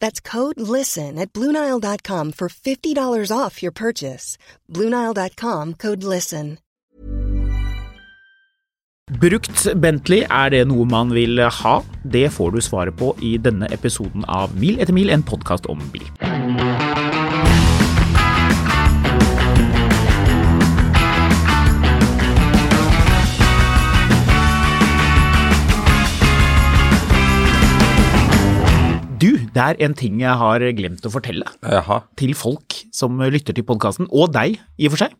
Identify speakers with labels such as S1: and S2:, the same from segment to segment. S1: That's code LISTEN at Bluenile.com for $50 off your purchase. Bluenile.com code LISTEN.
S2: Brukt Bentley, er det noe man vil ha? Det får du svaret på i denne episoden av Mil etter mil, en podkast om bil. Du, det er en ting jeg har glemt å fortelle
S3: Jaha.
S2: til folk som lytter til podkasten, og deg i og for seg.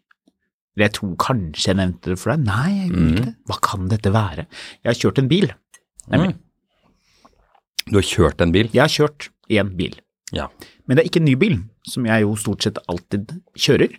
S2: Eller Jeg tror kanskje jeg nevnte det for deg. Nei, jeg gjorde ikke det. Hva kan dette være? Jeg har kjørt en bil. Nemlig.
S3: Du har kjørt en bil?
S2: Jeg har kjørt en bil.
S3: Ja.
S2: Men det er ikke en ny bil, som jeg jo stort sett alltid kjører,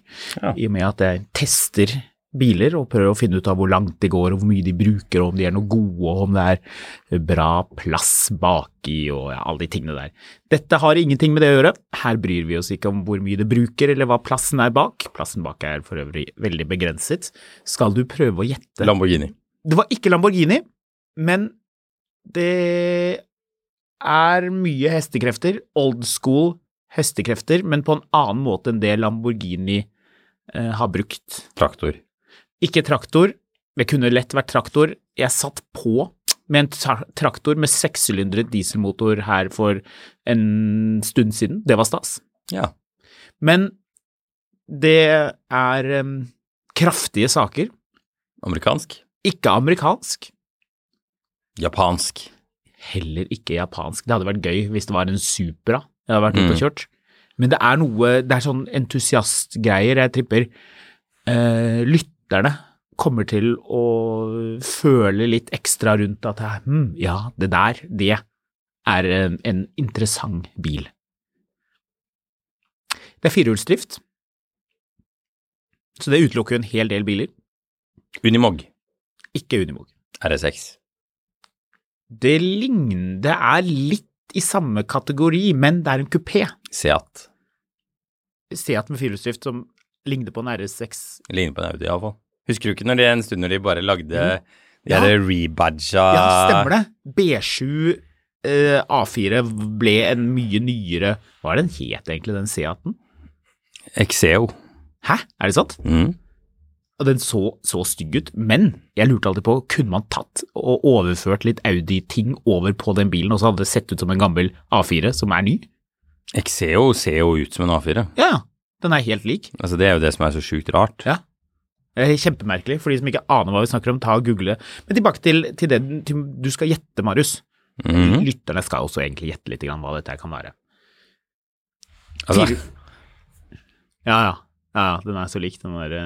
S2: i og med at jeg tester biler og prøver å finne ut av hvor langt det går, og hvor mye de bruker, og om de er noe gode, og om det er bra plass baki og ja, alle de tingene der. Dette har ingenting med det å gjøre. Her bryr vi oss ikke om hvor mye det bruker, eller hva plassen er bak. Plassen bak er for øvrig veldig begrenset. Skal du prøve å gjette
S3: Lamborghini.
S2: det var ikke Lamborghini, men det er mye hestekrefter. Old school hestekrefter, men på en annen måte enn det Lamborghini eh, har brukt.
S3: Traktor.
S2: Ikke traktor. Det kunne lett vært traktor. Jeg satt på med en tra- traktor med sekssylindret dieselmotor her for en stund siden. Det var stas.
S3: Ja.
S2: Men det er em, kraftige saker.
S3: Amerikansk.
S2: Ikke amerikansk.
S3: Japansk.
S2: heller ikke japansk. Det hadde vært gøy hvis det var en Supra jeg hadde vært ute
S3: Mm.
S2: og kjørt. Men det er noe, det er sånn entusiastgreier. Jeg tripper eh, lytterne kommer til å føle litt ekstra rundt at hm, ja, det der, det er en, en interessant bil. Det er firehjulsdrift, så det utelukker jo en hel del biler.
S3: Unimog.
S2: Ikke Unimog.
S3: RS6.
S2: Det ligner Det er litt i samme kategori, men det er en kupé.
S3: Seat.
S2: Seat med firehjulsdrift som ligner på en RS6.
S3: Ligner på en Audi, iallfall. Husker du ikke når det en stund når de bare lagde de
S2: Mm. Ja.
S3: der rebadga
S2: Ja, stemmer det. B7 eh, A4 ble en mye nyere Hva er den het egentlig, den Seaten?
S3: Exeo.
S2: Hæ, er det sant?
S3: Mm.
S2: Og den så så stygg ut, men jeg lurte alltid på, kunne man tatt og overført litt Audi-ting over på den bilen, og så hadde det sett ut som en gammel A4 som er ny?
S3: Exeo ser jo ut som en A4.
S2: Ja, den er helt lik.
S3: Altså, det er jo det som er så sjukt rart.
S2: Ja. Eh, Kjempemerkelig. For de som ikke aner hva vi snakker om, ta og google. Men tilbake til, til det til, du skal gjette, Marius.
S3: Mhm.
S2: Lytterne skal også egentlig gjette litt grann hva dette her kan være.
S3: Altså,
S2: Ja, ja. ja ja, den er så lik den derre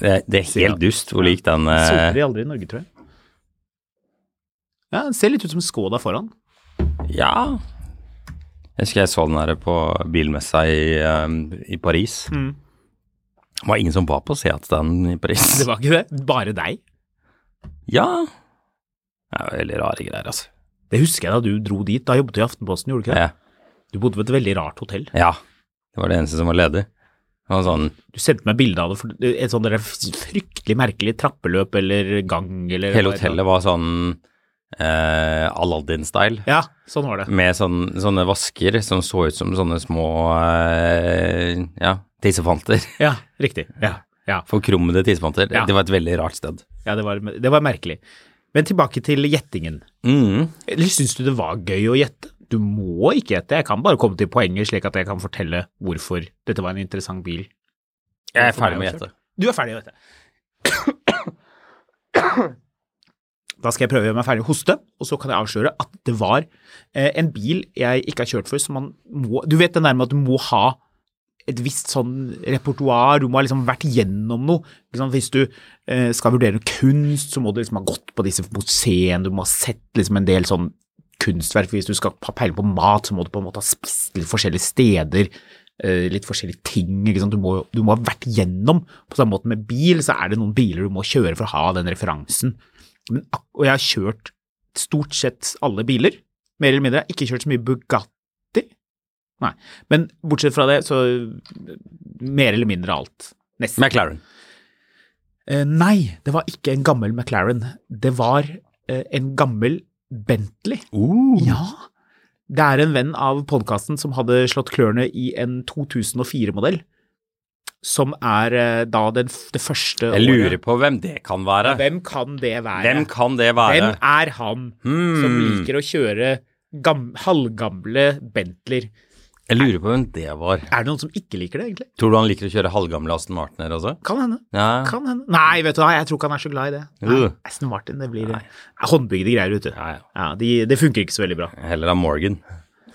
S3: det, det er
S2: Seat.
S3: helt dust hvor lik den eh,
S2: Solgte de aldri i Norge, tror jeg. Ja, den ser litt ut som en Skoda foran.
S3: Ja. Jeg husker jeg så den der på bilmessa i, um, i Paris.
S2: Mm.
S3: Det var ingen som var på Seat-standen i Paris.
S2: Det var ikke det. Bare deg.
S3: Ja. Det er jo veldig rare greier, altså.
S2: Det husker jeg da du dro dit. Da jobbet du i Aftenposten, gjorde du ikke det?
S3: Ja.
S2: Du bodde på et veldig rart hotell.
S3: ja. Det var det eneste som var ledig. Det var sånn
S2: Du sendte meg bilde av det, for et sånt der fryktelig merkelig trappeløp eller gang eller
S3: Hele hotellet var sånn eh, Aladdin-style.
S2: Ja, sånn var det.
S3: Med sånn, sånne vasker som så ut som sånne små eh, ja, tissefanter.
S2: Ja, riktig. Ja, ja.
S3: Forkrummede tissefanter.
S2: Ja.
S3: Det var et veldig rart sted.
S2: ja det, var, det var merkelig. Men tilbake til gjettingen.
S3: Mm.
S2: Eller syns du det var gøy å gjette? Du må ikke gjette, jeg kan bare komme til poenget slik at jeg kan fortelle hvorfor dette var en interessant bil. sånn
S3: Jeg er ferdig med å gjette.
S2: Du er ferdig med dette. Da skal jeg prøve å gjøre meg ferdig å hoste, og så kan jeg avsløre at det var eh, en bil jeg ikke har kjørt før, som man må Du vet det der med at du må ha et visst sånn repertoar, du må ha liksom vært gjennom noe. Ikke sant? Hvis du eh, skal vurdere kunst, så må du liksom ha gått på disse museene, du må ha sett liksom en del sånn kunstverk. Hvis du skal ha peiling på mat, så må du på en måte ha spist litt forskjellige steder, eh, litt forskjellige ting. Ikke sant? Du, må, du må ha vært gjennom. På samme måte med bil, så er det noen biler du må kjøre for å ha den referansen. Men, ak- og jeg har kjørt stort sett alle biler, mer eller mindre. Jeg har ikke kjørt så mye Bugatti. Nei. Men bortsett fra det, så eh, mer eller mindre alt. Nesten.
S3: McLaren.
S2: Eh, nei, det var ikke en gammel McLaren. Det var eh, en gammel Bentley. Ja. Det er en venn av podkasten som hadde slått klørne i en 2004-modell, som er eh, da den, f- det første
S3: Jeg lurer
S2: året.
S3: på hvem det kan være.
S2: Hvem kan det være?
S3: Hvem kan det være?
S2: Hvem er han som
S3: Hmm.
S2: liker å kjøre gam, halvgamle Bentleyer?
S3: Jeg lurer på hvem det var.
S2: Er det noen som ikke liker det, egentlig?
S3: Tror du han liker å kjøre halvgamle Aston Martiner også?
S2: Kan hende.
S3: Ja.
S2: Kan hende. Nei, vet du hva, jeg tror ikke han er så glad i det. Nei,
S3: Øh.
S2: Aston Martin, det blir håndbygde greier, vet du.
S3: Ja, ja.
S2: Ja, de, det funker ikke så veldig bra.
S3: Heller av Morgan.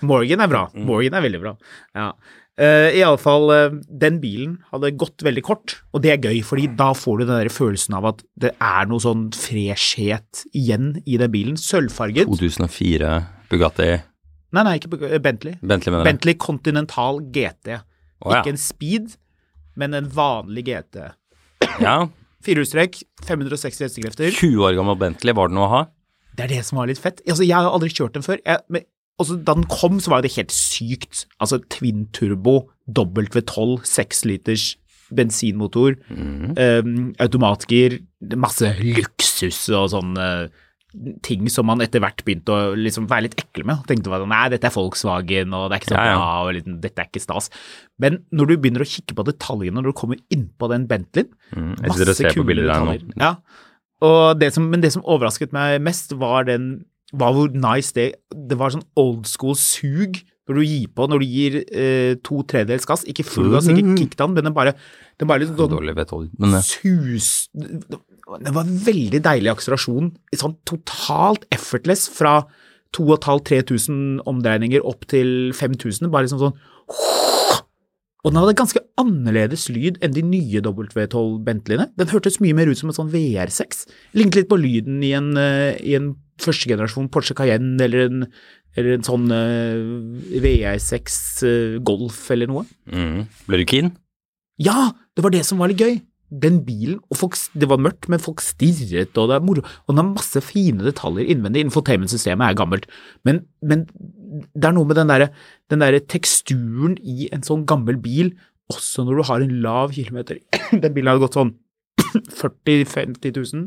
S2: Morgan er bra.
S3: Mm.
S2: Morgan er veldig bra. Ja. Uh, Iallfall, uh, den bilen hadde gått veldig kort, og det er gøy, fordi da får du den der følelsen av at det er noe sånn freshhet igjen i den bilen. Sølvfarget.
S3: 2004 Bugatti
S2: Nei, nei, ikke Bug- eh, Bentley.
S3: Bentley, mener jeg.
S2: Bentley Continental GT.
S3: Å, ja.
S2: Ikke en Speed, men en vanlig GT.
S3: Ja.
S2: Firehjulstrekk, 560 hestekrefter.
S3: 20 år gammel Bentley, var det noe å ha?
S2: Det er det som var litt fett. Altså, jeg har aldri kjørt den før. Jeg, men, altså, da den kom, så var jo det helt sykt. Altså twin turbo, W12, 6 liters bensinmotor,
S3: Mhm.
S2: eh, automatgir, masse luksus og sånne ting som man etter hvert begynte å liksom være litt ekle med. Tenkte bare, nei, dette er Volkswagen, og det er ikke så
S3: Ja, ja.
S2: bra, og liksom, dette er ikke stas. Men når du begynner å kikke på detaljene når du kommer innpå den Bentleyen,
S3: Mm, jeg sitter og ser på bilder her nå.
S2: detaljer. Ja. Og det som, men det som overrasket meg mest, var, den, var hvor nice det Det var sånn old school sug når du gir på, når du gir eh, to tredjedels gass. Ikke full gass, ikke kickdown, men den bare, den bare liksom sånn
S3: Dårlig V12, men eh,
S2: sus... Det var veldig deilig akselerasjon. Sånn totalt effortless fra 2500-3000 omdreininger opp til 5000. Bare liksom sånn Og den hadde ganske annerledes lyd enn de nye W12 Bentleyene. Den hørtes mye mer ut som en sånn VR6. Lignet litt på lyden i en, eh, i en førstegenerasjon Porsche Cayenne eller en, eller en sånn eh, VR6 eh, Golf eller noe.
S3: mm. Ble du keen?
S2: Ja, det var det som var litt gøy. Den bilen, og folk, det var mørkt, men folk stirret, og det er moro. Og den har masse fine detaljer innvendig. Infotainment-systemet er gammelt. Men, men det er noe med den derre den derre teksturen i en sånn gammel bil, også når du har en lav kilometer. Den bilen hadde gått sånn 40 000-50 000.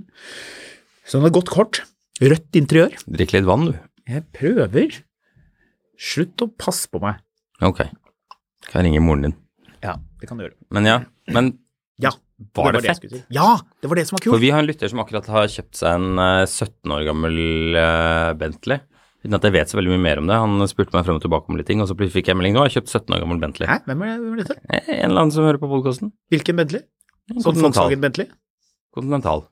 S2: Så den hadde gått kort. Rødt interiør.
S3: Drikk litt vann, du.
S2: Jeg prøver. Slutt å passe på meg.
S3: Ok. Kan jeg ringe moren din.
S2: Ja, det kan du gjøre.
S3: Men ja. Men
S2: Ja,
S3: var det,
S2: jeg
S3: fett?
S2: skulle si. Ja, det var det som var
S3: For
S2: kult.
S3: vi har en lytter som akkurat har kjøpt seg en eh, 17 år gammel eh, Bentley. Uten at jeg vet så veldig mye mer om det. Han spurte meg frem og tilbake om litt ting, og så pl- fikk jeg melding nå. Jeg har kjøpt 17 år gammel Bentley.
S2: Hæ, hvem er, hvem er dette?
S3: Eh, En eller annen som hører på podkasten.
S2: Hvilken Bentley? Sånn
S3: Continental.
S2: Volkswagen Bentley?
S3: Continental.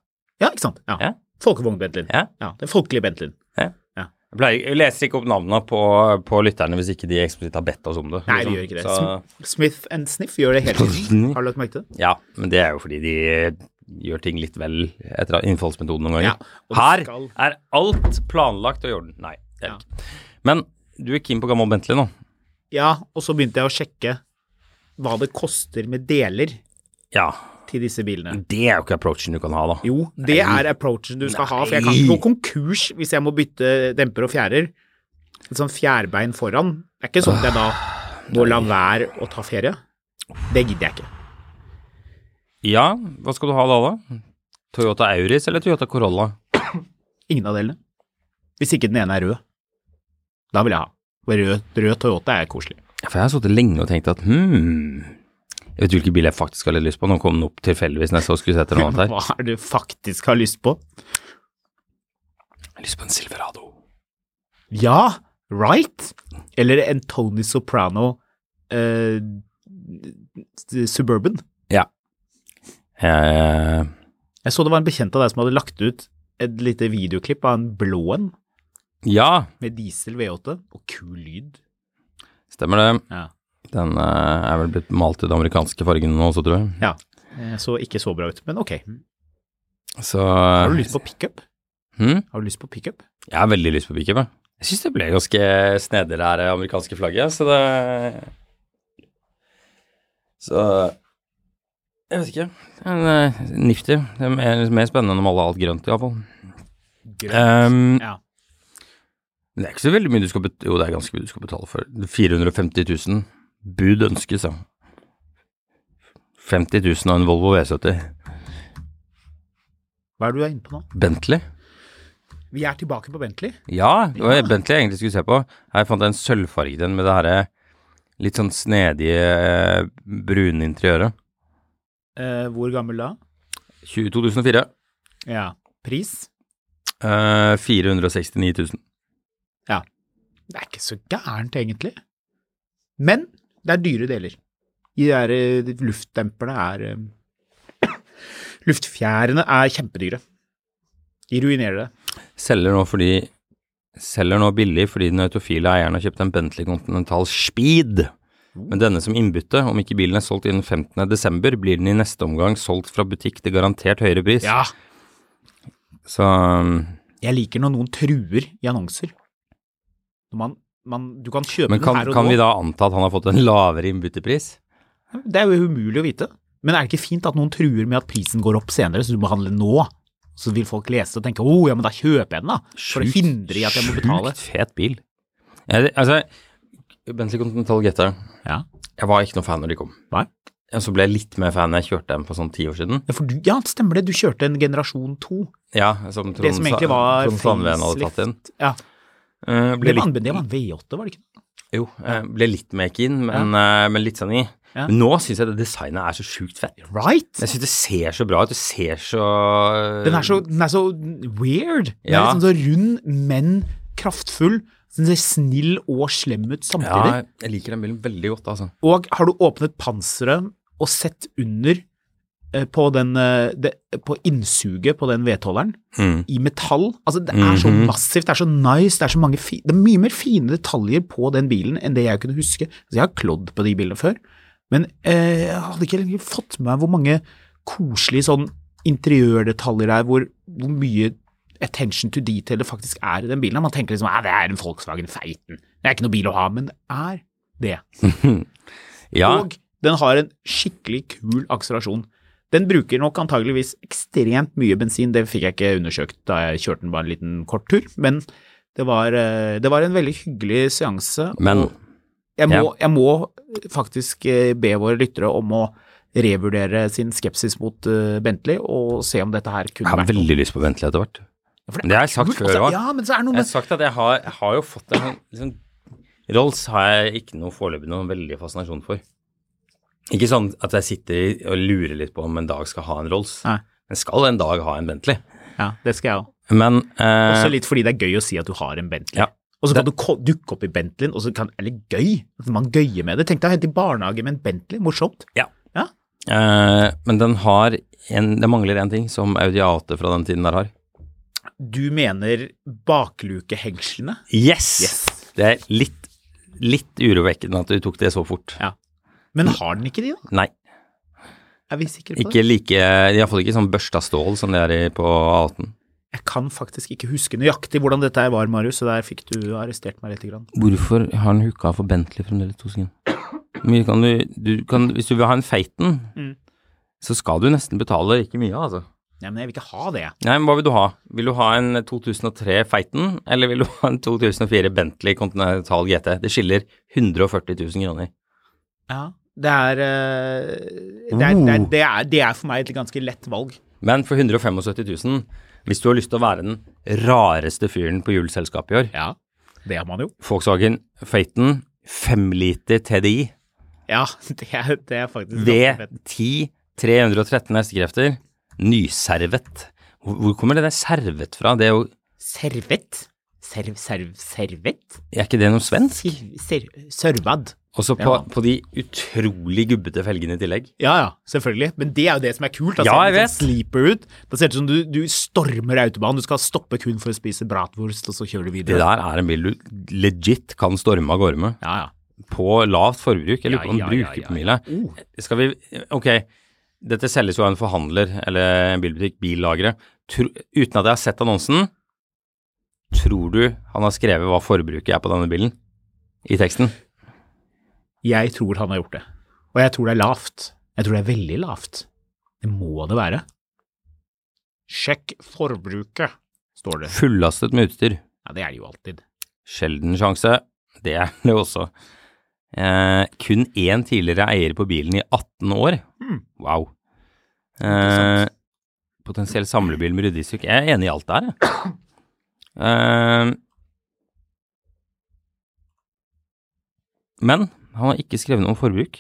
S2: Ja, ikke sant? Ja.
S3: Ja.
S2: Folkevogn-Bentleyen.
S3: Ja.
S2: Ja, den folkelige Bentleyen.
S3: Jeg, pleier, jeg leser ikke opp navnene på, på lytterne hvis ikke de eksplisitt har bedt oss om det.
S2: Nei,
S3: liksom.
S2: vi gjør ikke det.
S3: Så-
S2: Sm- Smith and Sniff gjør det hele tiden. Har du lagt merke til det?
S3: ja, men det er jo fordi de gjør ting litt vel etter innfallsmetoden noen
S2: Ja,
S3: ganger.
S2: og
S3: Her
S2: det skal-
S3: er alt planlagt og i orden. Nei, det er det ikke. Men du er keen på gammel Bentley nå?
S2: Ja, og så begynte jeg å sjekke hva det koster med deler
S3: Ja.
S2: til disse bilene.
S3: Det er jo ikke approachen du kan ha, da.
S2: Jo, det er approachen du skal ha, for jeg kan ikke gå konkurs hvis jeg må bytte demper og fjærer. Et sånn fjærbein foran. Det er ikke sånn at jeg da må la være å ta ferie. Det gidder jeg ikke.
S3: Ja, hva skal du ha da, da? Toyota Auris eller Toyota Corolla?
S2: Ingen av delene. Hvis ikke den ene er rød. Da vil jeg ha. For Rød, rød Toyota er koselig.
S3: Ja, For jeg har sittet lenge og tenkt at hm Jeg vet jo hvilken bil jeg faktisk hadde lyst på. Nå kom den opp tilfeldigvis når jeg så skulle se etter noe annet her.
S2: Hva er det du faktisk har lyst på?
S3: Jeg har lyst på en Silverado.
S2: Ja, right? Eller en Tony Soprano eh, Suburban.
S3: Ja. Eh,
S2: Jeg så det var en bekjent av deg som hadde lagt ut et lite videoklipp av en blå en
S3: Ja,
S2: med diesel V8 og kul lyd.
S3: stemmer det.
S2: Ja.
S3: Den eh, er vel blitt malt i de amerikanske fargene nå også, tror jeg.
S2: ja. Eh, Så ikke så bra ut, men ok.
S3: Så
S2: Har du lyst på pickup?
S3: Hm?
S2: Har du lyst på pickup?
S3: Jeg har veldig lyst på pickup, jeg. Jeg syns det ble ganske snedig det her eh, amerikanske flagget, så det Så Jeg vet ikke. Men, eh, Nifty. Det er mer- mer spennende enn å male alt grønt, iallfall. Um,
S2: ja.
S3: Det er ikke så veldig mye du skal betale Jo, det er ganske mye du skal betale for. 450 000. Bud ønskes, ja. 50 000 av en Volvo V70.
S2: Hva er det du er inne på nå?
S3: Bentley?
S2: Vi er tilbake på Bentley.
S3: Ja, det var Bentley jeg egentlig skulle se på. Her fant jeg en sølvfarget en med det herre litt sånn snedige eh, brune interiøret.
S2: Eh, hvor gammel da?
S3: 20- 2004.
S2: Ja. Pris?
S3: Eh, 469 000.
S2: Ja. Det er ikke så gærent, egentlig. Men det er dyre deler. De der eh, luftdemperne er eh, Luftfjærene er kjempedyre. De ruinerer det.
S3: Selger nå fordi Selger nå billig fordi den autofile eieren har kjøpt en Bentley Continental Speed. Men denne som innbytte, om ikke bilen er solgt innen 15. desember, blir den i neste omgang solgt fra butikk til garantert høyere pris.
S2: Ja.
S3: Så um,
S2: Jeg liker når noen truer i annonser. Når man, man Du kan kjøpe
S3: Men kan,
S2: den her og
S3: kan
S2: nå.
S3: vi da anta at han har fått en lavere innbyttepris?
S2: Det er jo umulig å vite. Men er det ikke fint at noen truer med at prisen går opp senere, så du må handle nå? Så vil folk lese og tenke å ja, men da kjøper jeg den, da. For det
S3: Sjukt-
S2: hindrer i at jeg må betale.
S3: Sjukt fet bil. Jeg, altså, Bentley Continental GT,
S2: Ja.
S3: jeg var ikke noe fan når de kom.
S2: Nei.
S3: Og så ble jeg litt mer fan da jeg kjørte dem for sånn ti år siden.
S2: Ja, for du, ja, stemmer det. Du kjørte en generasjon to.
S3: Ja, som Trond,
S2: som egentlig var
S3: Trond Sandven hadde tatt inn.
S2: facelift. Ja.
S3: Eh, ble
S2: Det var,
S3: litt,
S2: en, det var en V8, var det ikke? det?
S3: jo, eh, ble litt mer keen, men, eh, men litt sånn i.
S2: Ja.
S3: Men nå syns jeg det designet er så sjukt fett.
S2: Right?
S3: Jeg syns det ser så bra ut. Det ser så
S2: Den er så, den er så weird. Den er
S3: Ja.
S2: liksom så rund, men kraftfull. Den ser snill og slem ut samtidig.
S3: Ja, jeg liker den bilen veldig godt, altså.
S2: Og har du åpnet panseret og sett under eh, på, den, eh, det, på innsuget på den vedholderen, i metall Altså, det er så massivt, det er så nice, det er så mange fi, Det er mye mer fine detaljer på den bilen enn det jeg kunne huske. Altså, jeg har klådd på de bilene før, men eh, jeg hadde ikke egentlig fått med meg hvor mange koselige sånn interiørdetaljer det er, hvor, hvor mye attention to detail det faktisk er i den bilen. Man tenker liksom at det er en Volkswagen Feiten, det er ikke noe bil å ha, men det er det.
S3: Ja,
S2: Og den har en skikkelig kul akselerasjon. Den bruker nok antageligvis ekstremt mye bensin, det fikk jeg ikke undersøkt da jeg kjørte den bare en liten kort tur, men det var, eh, det var en veldig hyggelig seanse. og
S3: men
S2: jeg må, jeg må faktisk eh, be våre lyttere om å revurdere sin skepsis mot eh, Bentley og se om dette her
S3: jeg
S2: kunne
S3: har
S2: vært noe.
S3: veldig lyst på Bentley etter hvert.
S2: For
S3: Det har jeg sagt
S2: kult,
S3: før
S2: altså.
S3: også.
S2: Ja, men så er det noe
S3: Jeg har
S2: med
S3: sagt at jeg har, jeg har jo fått en sånn- liksom, Rolls har jeg ikke noe foreløpig noen veldig fascinasjon for. Ikke sånn at jeg sitter og lurer litt på om en dag skal ha en Rolls.
S2: Nei.
S3: Jeg skal en dag ha en Bentley.
S2: Ja, det skal jeg òg.
S3: Men eh,
S2: Også litt fordi det er gøy å si at du har en Bentley.
S3: Ja.
S2: Og så kan du ko- dukke opp i Bentleyen, og så kan Eller gøy! At man gøyer med det. Tenk deg å hente i barnehage med en Bentley, morsomt.
S3: ja.
S2: Ja.
S3: Eh, men den har en, det mangler en ting som Audi A8 fra den tiden der har.
S2: Du mener baklukehengslene?
S3: Yes!
S2: Yes.
S3: Det er litt, litt urovekkende at du tok det så fort.
S2: Ja. Men har den ikke de, da?
S3: Nei,
S2: Er vi sikre på
S3: ikke like Iallfall ikke sånn børsta stål som det er i på A18.
S2: det? Jeg kan faktisk ikke huske nøyaktig hvordan dette her var, Marius, så der fikk du arrestert meg lite grann.
S3: Hvorfor har han hooka for Bentley fremdeles to sekunder? Mye kan du, du kan, hvis du vil ha en feiten, så skal du nesten betale ikke mye, altså.
S2: Nei, men jeg vil ikke ha det, jeg.
S3: Nei, men hva vil du ha? Vil du ha en eh, 2003 Feiten, eller vil du ha en 2004 Bentley Continental GT? Det skiller 140 000 kroner.
S2: Ja. Det er, eh, det, er, det,
S3: Oh.
S2: er, det, er, det er for meg et ganske lett valg.
S3: Men for 175 000, hvis du har lyst til å være den rareste fyren på juleselskapet i år,
S2: Ja. Det har man jo.
S3: Volkswagen Feiten, 5 liter TDI,
S2: Ja, det er, det er faktisk ganske fett.
S3: V10 313 hestekrefter, nyservet. Hvor hvor kommer det der servet fra? Det er jo
S2: Servett? Serv, serv, servett?
S3: Er ikke det noe svensk?
S2: Siv- ser- Sørvad.
S3: Også på,
S2: Ja.
S3: på de utrolig gubbete felgene i tillegg.
S2: Ja, ja, selvfølgelig. Men det er jo det som er kult. Da
S3: Ja,
S2: ser
S3: jeg
S2: det
S3: vet.
S2: sånn Sleeper ut. Da ser det ut som du, du stormer autobahn. Du skal stoppe kun for å spise bratwurst, og så kjører du
S3: Det
S2: videre.
S3: der er en bil du legit kan storme av gårde med.
S2: Ja, ja.
S3: På lavt forbruk. Jeg
S2: Ja,
S3: lurer på om
S2: ja, ja,
S3: den bruker
S2: ja, Oh.
S3: på mila.
S2: ja.
S3: Skal vi Ok, dette selges jo av en forhandler eller en bilbutikk, billagre. Tro, uten at jeg har sett annonsen, tror du han har skrevet hva forbruket er på denne bilen? I teksten?
S2: Jeg tror han har gjort det. Og jeg tror det er lavt. Jeg tror det er veldig lavt. Det må det være. Sjekk forbruket, står det.
S3: Fullastet med utstyr.
S2: Ja, det er det jo alltid.
S3: Sjelden sjanse. Det er det også. Eh, kun én tidligere eier på bilen i 18 år.
S2: Hmm.
S3: Wow. Eh,
S2: Interessant.
S3: potensiell samlebil med ryddestykke. Jeg er enig i alt der, jeg. Eh, men han har ikke skrevet noe om forbruk.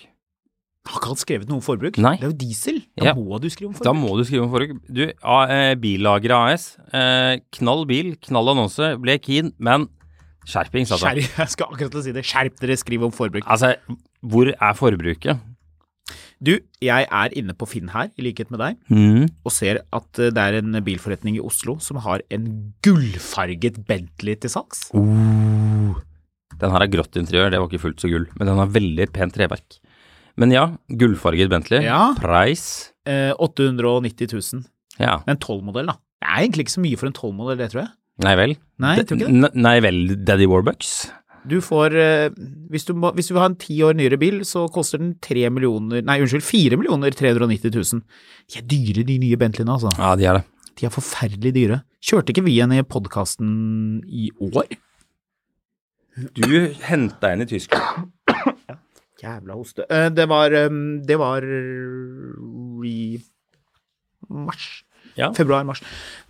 S2: Har ikke han skrevet noe om forbruk?
S3: Nei.
S2: Det er jo diesel. Da
S3: Ja.
S2: må du skrive om forbruk.
S3: Da må du skrive om forbruk. Du, A- eh, Billageret AS. Eh, knall bil, knall annonse. Ble keen, men skjerpings, altså.
S2: Skjerp, jeg skal akkurat til å si det. Skjerp dere, skriv om forbruk.
S3: Altså, hvor er forbruket?
S2: Du, jeg er inne på Finn her, i likhet med deg.
S3: Mm.
S2: og ser at eh, det er en bilforretning i Oslo som har en gullfarget Bentley til salgs.
S3: Uh. Den her er grått interiør, det var ikke fullt så gull, men den har veldig pent treverk. Men ja, gullfarget Bentley.
S2: Ja.
S3: Price.
S2: Eh, 890 000.
S3: Ja.
S2: En 12-modell, da. Det er egentlig ikke så mye for en 12-modell, det tror jeg.
S3: Nei vel.
S2: Nei, jeg tror ikke det.
S3: Ne- Nei vel, Daddy Warbucks.
S2: Du får eh, Hvis du, må, hvis du vil ha en ti år nyere bil, så koster den 3 millioner Nei, unnskyld, 4 millioner 390 000. De er dyre, de nye Bentleyene, altså.
S3: Ja, de er det.
S2: De er forferdelig dyre. Kjørte ikke vi en i podkasten i år?
S3: Du henta en i Tyskland.
S2: Jævla hoste. Eh, Det var ehm, Det var eh, i mars.
S3: Ja.
S2: Februar-mars.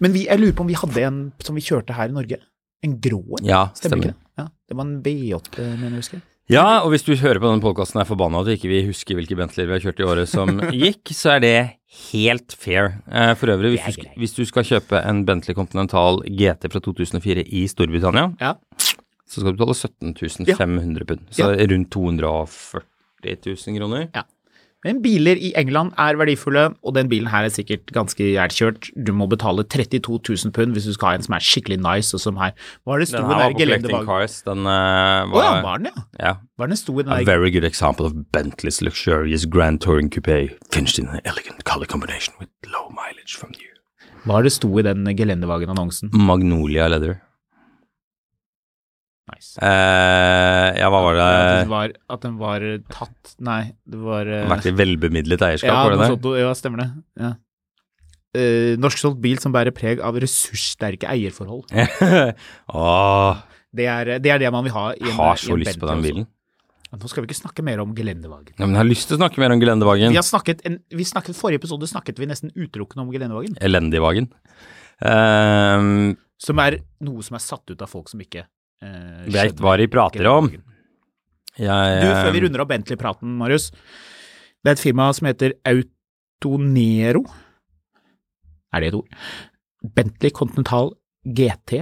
S2: Men vi, jeg lurer på om vi hadde en som vi kjørte her i Norge. En grå en?
S3: Ja, stemmer.
S2: ikke det? Ja, det var en B8, mener jeg å huske.
S3: Ja, og hvis du hører på denne podkasten og er forbanna at vi ikke vil huske hvilke Bentleyer vi har kjørt i året som gikk, så er det helt fair. Eh, For øvrig,
S2: Det er
S3: hvis du, sk- hvis du skal kjøpe en Bentley Continental GT fra 2004 i Storbritannia,
S2: Ja.
S3: så skal du betale 17 500 pund. Så rundt 240 000 kroner.
S2: Men biler i England er verdifulle, og den bilen her er sikkert ganske jævlkjørt. Du må betale 32 000 pund hvis du skal ha en som er skikkelig nice, og som her Hva er det sto
S3: Den
S2: den
S3: her var
S2: der
S3: på Collecting
S2: gelendervagen?
S3: Cars. Den eh,
S2: Å ja,
S3: var
S2: var den, ja.
S3: ja.
S2: Hva er det den sto i
S3: A
S2: den der?
S3: very good example of Bentley's luxurious grand touring coupe, finished in an elegant color combination with low mileage from you.
S2: Hva er det sto i den gelendervagen-annonsen?
S3: Magnolia leather.
S2: Nice.
S3: Eh, ja, hva var
S2: At den
S3: det?
S2: var, at den var eh, tatt Nei, det var eh,
S3: Vært i velbemidlet eierskap,
S2: ja,
S3: var
S2: noe
S3: det det?
S2: sånt, ja, stemmer det. Ja. Eh, norsksolgt bil som bærer preg av ressurssterke eierforhold.
S3: Åh,
S2: Det er det, er det man vil ha. I en,
S3: har så
S2: i en
S3: lyst på
S2: Bentley
S3: den
S2: også.
S3: bilen.
S2: Ja, Nå skal vi ikke snakke mer om gelendevagen.
S3: Ja, men jeg har lyst til å snakke mer om Gelendevagen.
S2: Vi har snakket, en, vi snakket Forrige episode snakket vi nesten utelukkende om gelendevagen,
S3: Elendigvagen. Eh,
S2: som er noe som er satt ut av folk som ikke eh,
S3: Vet
S2: skjønner
S3: hva de prater om.
S2: gelendevagen.
S3: jeg, eh,
S2: Du, før vi runder av Bentley-praten, Marius. Det er et firma som heter Autonero. Er det et ord? Bentley Continental GT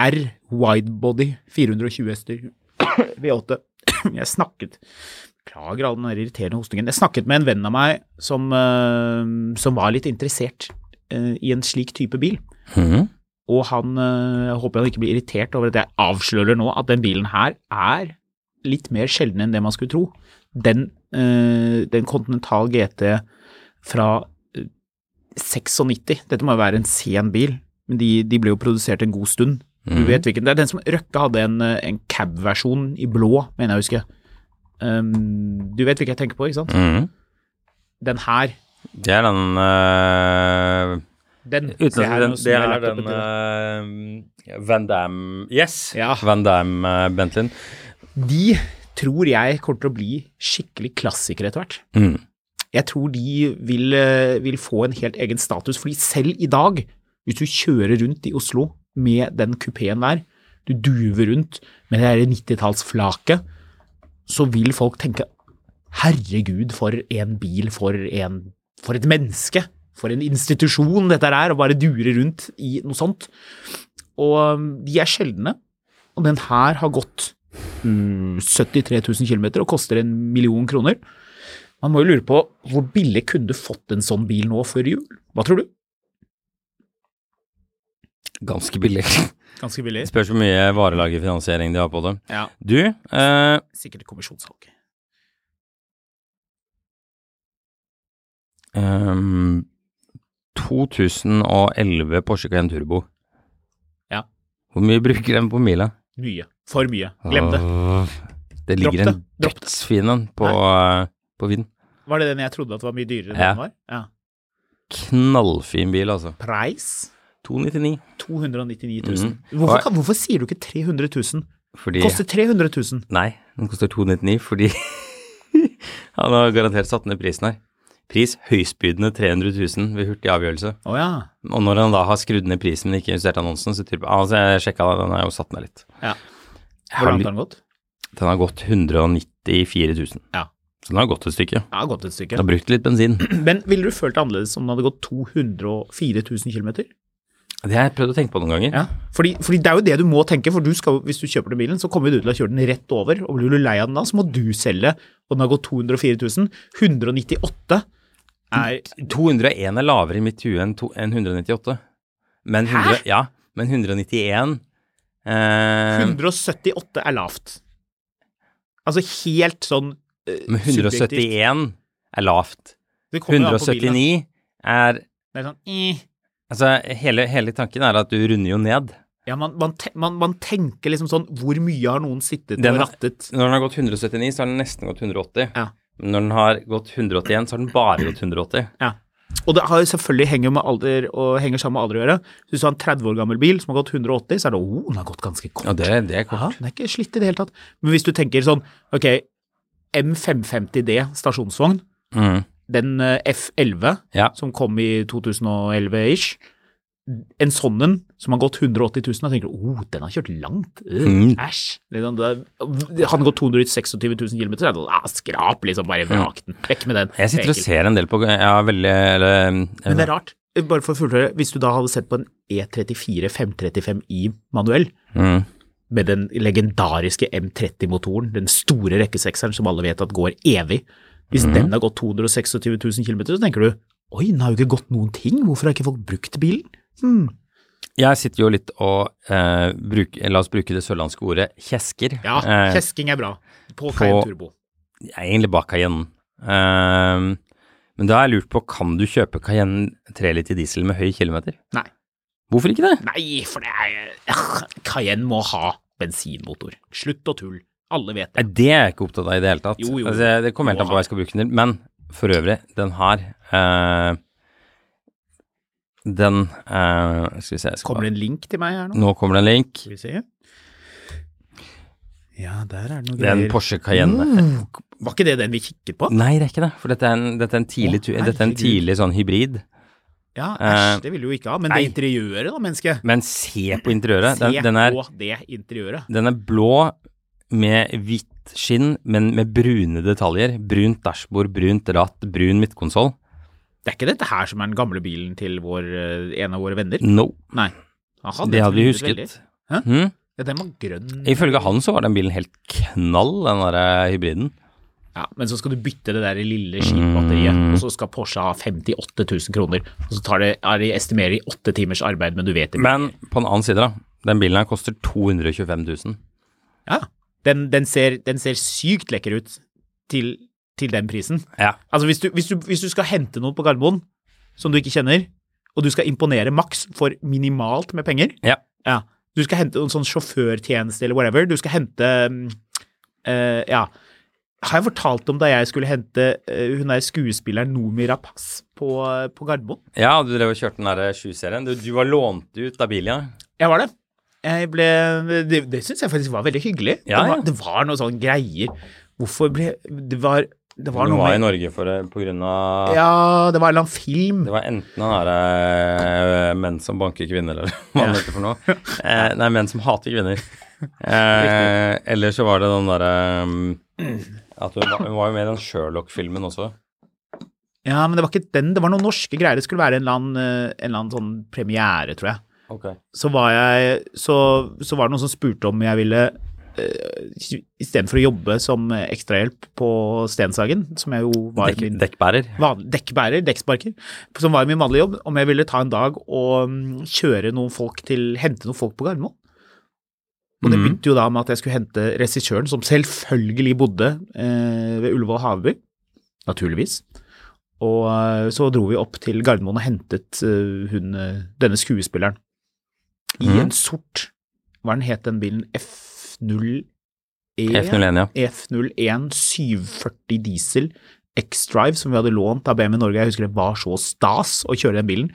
S2: R Widebody 420 hester V8. Jeg snakket Beklager all den der irriterende hostingen. Jeg snakket med en venn av meg som, eh, som var litt interessert eh, i en slik type bil.
S3: Mhm.
S2: Og han øh, jeg håper han ikke blir irritert over at jeg avslører nå at den bilen her er litt mer sjelden enn det man skulle tro. Den, øh, den Continental GT fra øh, 96, dette må jo være en sen bil, men de, de ble jo produsert en god stund. Du
S3: Mhm.
S2: vet hvilken. Det er den som Røkke hadde en, øh, en cab-versjon i blå, mener jeg å huske. Ehm, du vet hvilken jeg tenker på, ikke sant?
S3: Mhm.
S2: Den her.
S3: Det er den eh,
S2: Den.
S3: Uten
S2: Se her,
S3: at den,
S2: nå snur
S3: det
S2: jeg
S3: er
S2: laptopen
S3: den
S2: til deg.
S3: eh, Van Damme Yes!
S2: Ja.
S3: Van Damme eh, Bentleyen.
S2: De tror jeg kommer til å bli skikkelig klassikere etter hvert.
S3: Mm.
S2: Jeg tror de vil, eh, vil få en helt egen status, fordi selv i dag, hvis du kjører rundt i Oslo med den kupeen der, du duver rundt med det der 90-tallsflaket, så vil folk tenke herregud, for en bil, for, en, for et menneske, for en institusjon dette er, og bare dure rundt i noe sånt. Og um, de er sjeldne, Og den her har gått mm, 73 000 km og koster en million kroner. Man må jo lure på hvor billig kunne du fått en sånn bil nå før jul? Hva tror du?
S3: Ganske billig.
S2: Ganske billig.
S3: Spørs hvor mye varelagerfinansiering de har på det.
S2: Ja.
S3: Du, eh,
S2: Sikkert kommisjonssalg.
S3: ehm, 2011 Porsche Cayenne Turbo.
S2: Ja.
S3: Hvor mye bruker den på mila?
S2: Mye. For mye. Glem det.
S3: Åh, Det ligger
S2: Dropp det.
S3: en
S2: Dropp det.
S3: dødsfin en på, eh, på Vind.
S2: Var det den jeg trodde at var mye dyrere enn
S3: Ja.
S2: den var? Ja.
S3: Knallfin bil, altså.
S2: Preis?
S3: 299.
S2: 299 000.
S3: Mhm.
S2: Hvorfor, kan, hvorfor sier du ikke 300 000?
S3: Fordi
S2: Koster 300 000.
S3: Nei, den koster 299 fordi han har garantert satt ned prisen her. Pris høystbydende 300 000 ved hurtig avgjørelse.
S2: Å ja.
S3: Og når han da har skrudd ned prisen, men ikke justert annonsen, så typ, altså jeg sjekka det, den er jo satt ned litt.
S2: ja. Hvor
S3: Jeg har
S2: langt
S3: ly-
S2: har den gått?
S3: Den har gått 194 000.
S2: Ja.
S3: Så den har gått et stykke.
S2: Ja, gått et stykke.
S3: Den har brukt litt bensin.
S2: Men ville du følt det annerledes om den hadde gått 204 000 km?
S3: Det har jeg prøvd å tenke på noen ganger.
S2: Ja. Fordi, fordi det er jo det du må tenke, for du skal, jo- hvis du kjøper den bilen, så kommer du til å kjøre den rett over, og blir du lei av den da, så må du selge, og den har gått 204 000. 198 er
S3: 201 er lavere i mitt hue enn to- enn 198. Men 100, ja, men 191 eh,
S2: 178 er lavt. Altså helt sånn eh,
S3: Men
S2: subjektivt.
S3: 171 er lavt.
S2: Det kommer jo an på bilen, da.
S3: 179 er
S2: Det er sånn, eh.
S3: Altså, hele, hele tanken er at du runder jo ned.
S2: Ja, man, man, te man, man tenker liksom sånn Hvor mye har noen sittet
S3: Den
S2: og
S3: har-
S2: rattet?
S3: Når den har gått 179, så har den nesten gått 180.
S2: Ja.
S3: Men når den har gått 181, så har den bare gått 180.
S2: Ja. Og det har jo selvfølgelig henger med alder og henger sammen med alder å gjøre. Så hvis du har en 30 år gammel bil som har gått 180, så er det oh, den har gått ganske kort.
S3: Ja, det, det er
S2: Ja,
S3: kort.
S2: den er ikke slitt i det hele tatt. Men hvis du tenker sånn, ok, M550D stasjonsvogn,
S3: Mm.
S2: den eh, F11
S3: Ja.
S2: som kom i 2011-ish, en sånn en som har gått 180 000, da tenker du oh, den har kjørt langt. Øh,
S3: Mm.
S2: Æsj. Liksom, det er- Hadde den gått 226 000 km, så er det sånn, ah, skrap, liksom, bare vrak den. Vekk med den.
S3: Jeg sitter og
S2: Ekkelt.
S3: ser en del på Jeg har veldig eller,
S2: Men det er rart. Bare for å fullføre, hvis du da hadde sett på en E34 535i manuell,
S3: mm.
S2: med den legendariske M30-motoren, den store rekkesekseren som alle vet at går evig. Hvis
S3: Mm.
S2: den har gått 226 000 km, så tenker du oi, den har jo ikke gått noen ting, hvorfor har ikke folk brukt bilen? Hmm.
S3: Jeg sitter jo litt og eh, bruk, La oss bruke det sørlandske ordet kjesker.
S2: Ja,
S3: Eh,
S2: kjesking er bra. På Cayenne Turbo.
S3: jeg er egentlig bak Cayenne. Eh, men da har jeg lurt på, kan du kjøpe Cayenne 3 liter diesel med høy kilometer?
S2: Nei.
S3: Hvorfor ikke det?
S2: Nei, for det er Ah, Cayenne må ha bensinmotor. Slutt å tulle. Alle vet
S3: Nei,
S2: det.
S3: det er jeg ikke opptatt av i det hele tatt.
S2: Jo, jo.
S3: Altså, det kommer helt an på hva jeg skal bruke den til. Men for øvrig, den her eh, Den eh, Skal vi se jeg skal
S2: Kommer det en link til meg her nå?
S3: Nå kommer det en link.
S2: Skal vi se. Ja, der er det noe
S3: Det er en
S2: greier. Mm.
S3: Porsche Cayenne.
S2: Var ikke det den vi kikket på?
S3: Nei, det er ikke det. For dette er en, dette er en, tidlig,
S2: Å,
S3: tu- dette er en
S2: herregud.
S3: tidlig sånn hybrid.
S2: Ja,
S3: Eh,
S2: æsj, det ville du jo ikke ha. Men
S3: nei.
S2: det interiøret da, menneske.
S3: Men se på interiøret. Den,
S2: Se
S3: den, er,
S2: på det interiøret.
S3: den er blå med hvitt skinn, men med brune detaljer. Brunt dashbord, brunt ratt, brun midtkonsoll.
S2: Det er ikke dette her som er den gamle bilen til vår, eh, en av våre venner?
S3: No.
S2: Nei. Han hadde
S3: Mm, Det
S2: den
S3: hadde vi
S2: som veldig.
S3: husket.
S2: Hæ?
S3: Hm?
S2: Ja, den var grønn.
S3: Ifølge han så var den bilen helt knall, den der hybriden.
S2: Ja, men så skal du bytte det der lille skipbatteriet,
S3: Mm.
S2: og så skal Porsche ha 58 000 kroner. Og så tar det, er det estimerer i åtte timers arbeid, men du vet det.
S3: Men på den annen side, da. Den bilen her koster 225 000.
S2: Ja, den, den, ser, den ser sykt lekker ut til, til den prisen.
S3: Ja.
S2: Altså hvis du, hvis, du, hvis du skal hente noen på Gardermoen som du ikke kjenner, og du skal imponere maks for minimalt med penger
S3: Ja.
S2: ja, Du skal hente en sånn sjåførtjeneste eller whatever. Du skal hente mm, eh, Ja. Har jeg fortalt om da jeg skulle hente eh, hun der skuespilleren Nomi Rapace på, eh, på Gardermoen?
S3: ja, du drev og kjørte den der 7-serien. Du, du var lånt ut av bilen, ja.
S2: Jeg var det. Jeg ble, det det syns jeg faktisk var veldig hyggelig.
S3: Ja,
S2: det,
S3: ja.
S2: var, det var noen sånne greier Hvorfor ble Det var, det var
S3: Du
S2: noe
S3: var i
S2: med
S3: Norge for, det på grunn av
S2: Ja, det var en eller annen film.
S3: Det var enten han derre menn som banker kvinner, eller hva han heter for noe. Eh, nei, menn som hater kvinner. Eh, eller så var det den derre eh, at hun, var- hun var jo med i den Sherlock-filmen også.
S2: Ja, men det var ikke den. Det var noen norske greier. Det skulle være en eller annen, eh, en eller annen sånn premiere, tror jeg.
S3: Ok.
S2: så var, jeg, så, så var det noen som spurte om jeg ville eh, Istedenfor å jobbe som eh, ekstrahjelp på Stenshagen, som jeg jo var
S3: Dekk,
S2: min
S3: dekkbærer.
S2: van, dekkbærer, dekksparker, som var min vanlige jobb, om jeg ville ta en dag og mm, kjøre noen folk til Hente noen folk på Gardermoen. Og det
S3: Mhm.
S2: begynte jo da med at jeg skulle hente regissøren, som selvfølgelig bodde eh, ved Ullevål Haveby, naturligvis. Og eh, så dro vi opp til Gardermoen og hentet eh, hun, eh, denne skuespilleren i
S3: Mhm.
S2: en sort Hva den het den bilen? E, F0E?
S3: F01, ja.
S2: F01 740 diesel X-Drive som vi hadde lånt av BMW Norge. Jeg husker det var så stas å kjøre den bilen.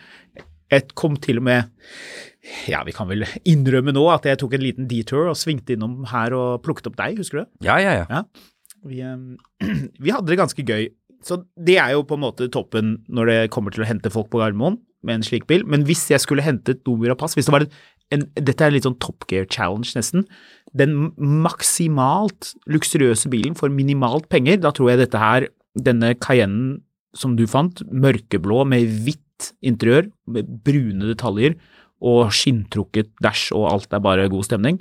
S2: Jeg kom til og med Ja, vi kan vel innrømme nå at jeg tok en liten detour og svingte innom her og plukket opp deg, husker du det?
S3: Ja, ja, ja.
S2: Vi, eh, vi hadde det ganske gøy. Så det er jo på en måte toppen når det kommer til å hente folk på Gardermoen med en slik bil. Men hvis jeg skulle hentet nummer og pass hvis det var en, en, Dette er litt sånn Top Gear Challenge, nesten. Den maksimalt luksuriøse bilen for minimalt penger, da tror jeg dette her, denne Cayennen som du fant, mørkeblå med hvitt interiør, med brune detaljer og skinntrukket dash og alt er bare god stemning,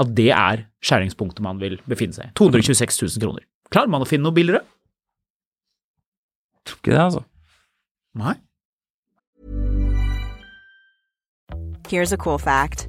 S2: at det er skjæringspunktet man vil befinne seg i. 226 000 kroner. Klarer man å finne noe billigere?
S3: Tror ikke det, altså.
S2: Nei.
S4: Here's a cool fact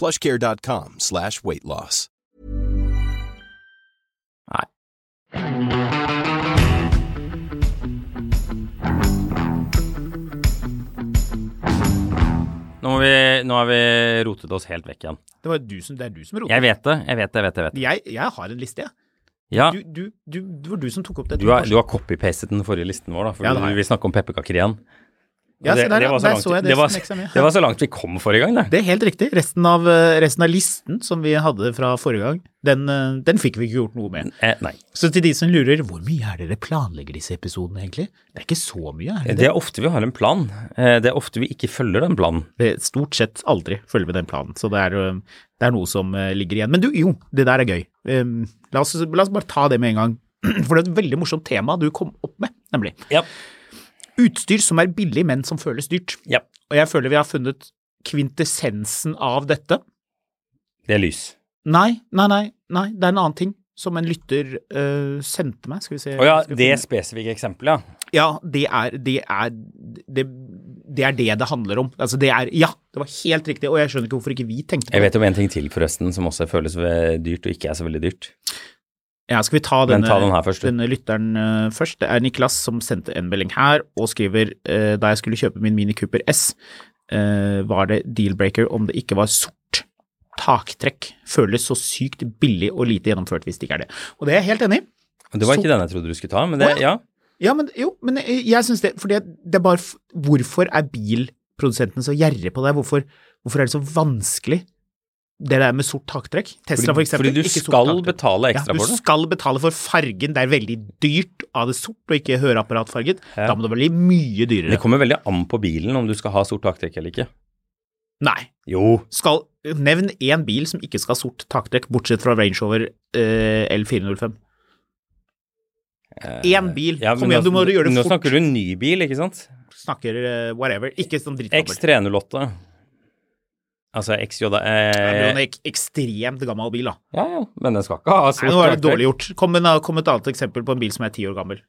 S5: plushcare.com slash weight loss.
S3: Nei. Nå, må vi, nå har vi rotet oss helt vekk igjen.
S2: Det, var du som, det er du som roter.
S3: Jeg vet det, jeg vet det, jeg vet det. Jeg vet det.
S2: Jeg, jeg har en liste, jeg.
S3: Ja,
S2: Du, du, du, det var du som tok opp det.
S3: du har, du har copy-pastet den forrige listen vår, da, for
S2: Ja, det har
S3: vi
S2: jeg.
S3: vil snakke om pepperkaker igjen.
S2: Ja,
S3: Og
S2: se der, ja.
S3: var
S2: Der
S3: langt-
S2: så jeg det
S3: var,
S2: som ekstra mye.
S3: det var så langt vi kom forrige gang, det.
S2: Det er helt riktig. Resten av, eh, resten av listen som vi hadde fra forrige gang, den, eh, den fikk vi ikke gjort noe med.
S3: Eh, nei.
S2: Så til de som lurer, hvor mye er det dere planlegger disse episodene egentlig? Det er ikke så mye, er det?
S3: Det er ofte vi har en plan. Eh, Det er ofte vi ikke følger den planen.
S2: det er stort sett aldri følger med den planen, så det er, øhm, det er noe som øh, ligger igjen. Men du, jo, det der er gøy. Ehm, La oss, la oss bare ta det med en gang, for det er et veldig morsomt tema du kom opp med, nemlig.
S3: Ja.
S2: Utstyr som er billig, men som føles dyrt.
S3: ja.
S2: Og jeg føler vi har funnet kvintessensen av dette.
S3: Det er lys.
S2: Nei, nei, nei, nei, det er en annen ting som en lytter øh, sendte meg. Skal vi se
S3: Å ja,
S2: skal vi
S3: det
S2: finne-
S3: spesifikke eksempelet, ja.
S2: Ja, det er det er det, det er det det handler om. Altså, det er Ja, det var helt riktig, og jeg skjønner ikke hvorfor ikke vi tenkte på det.
S3: Jeg vet om en ting til, forresten, som også føles ve- dyrt og ikke er så veldig dyrt.
S2: Ja, skal vi ta
S3: Men
S2: denne,
S3: ta den her først, du.
S2: denne lytteren eh, først? Det er Niklas som sendte en melding her og skriver eh, da jeg skulle kjøpe min Mini Cooper S, eh, var det deal-breaker om det ikke var sort taktrekk. Føles så sykt billig og lite gjennomført hvis det ikke er det. Og det er jeg helt enig i.
S3: Og Det var
S2: Så-
S3: ikke den jeg trodde du skulle ta, men det,
S2: Å
S3: ja.
S2: Ja, men jo, men jeg, jeg syns det For det er bare f- Hvorfor er bilprodusentene så gjerrige på det? Hvorfor, hvorfor er det så vanskelig, det der med sort taktrekk? Tesla, for
S3: Fordi-
S2: eksempel.
S3: fordi du
S2: ikke sort
S3: skal
S2: taktrekk.
S3: betale ekstra
S2: ja,
S3: for det.
S2: Du skal betale for fargen. Det er veldig dyrt av det sort og ikke høreapparatfarget. Da må det bli mye
S3: Det
S2: dyrere.
S3: kommer veldig an på bilen om du skal ha sort taktrekk eller ikke.
S2: Nei.
S3: Jo.
S2: Skal, nevn én bil som ikke skal ha sort taktrekk, bortsett fra Range Rover eh, L405. Én bil.
S3: Eh, Ja,
S2: Kom
S3: men
S2: igjen, du må
S3: nå-
S2: gjøre det
S3: Nå
S2: fort.
S3: snakker du ny bil, ikke sant?
S2: Snakker eh, whatever. Ikke sånn drittkobber.
S3: X308. Altså XJ...
S2: Det er
S3: Eh,
S2: en ek- ekstremt gammel bil, da.
S3: ja, ja, men den skal ikke ha
S2: Nei,
S3: sort
S2: nå er det
S3: taktrekk.
S2: dårlig gjort. Kom, med en- kom med et annet eksempel på en bil som er ti år gammel.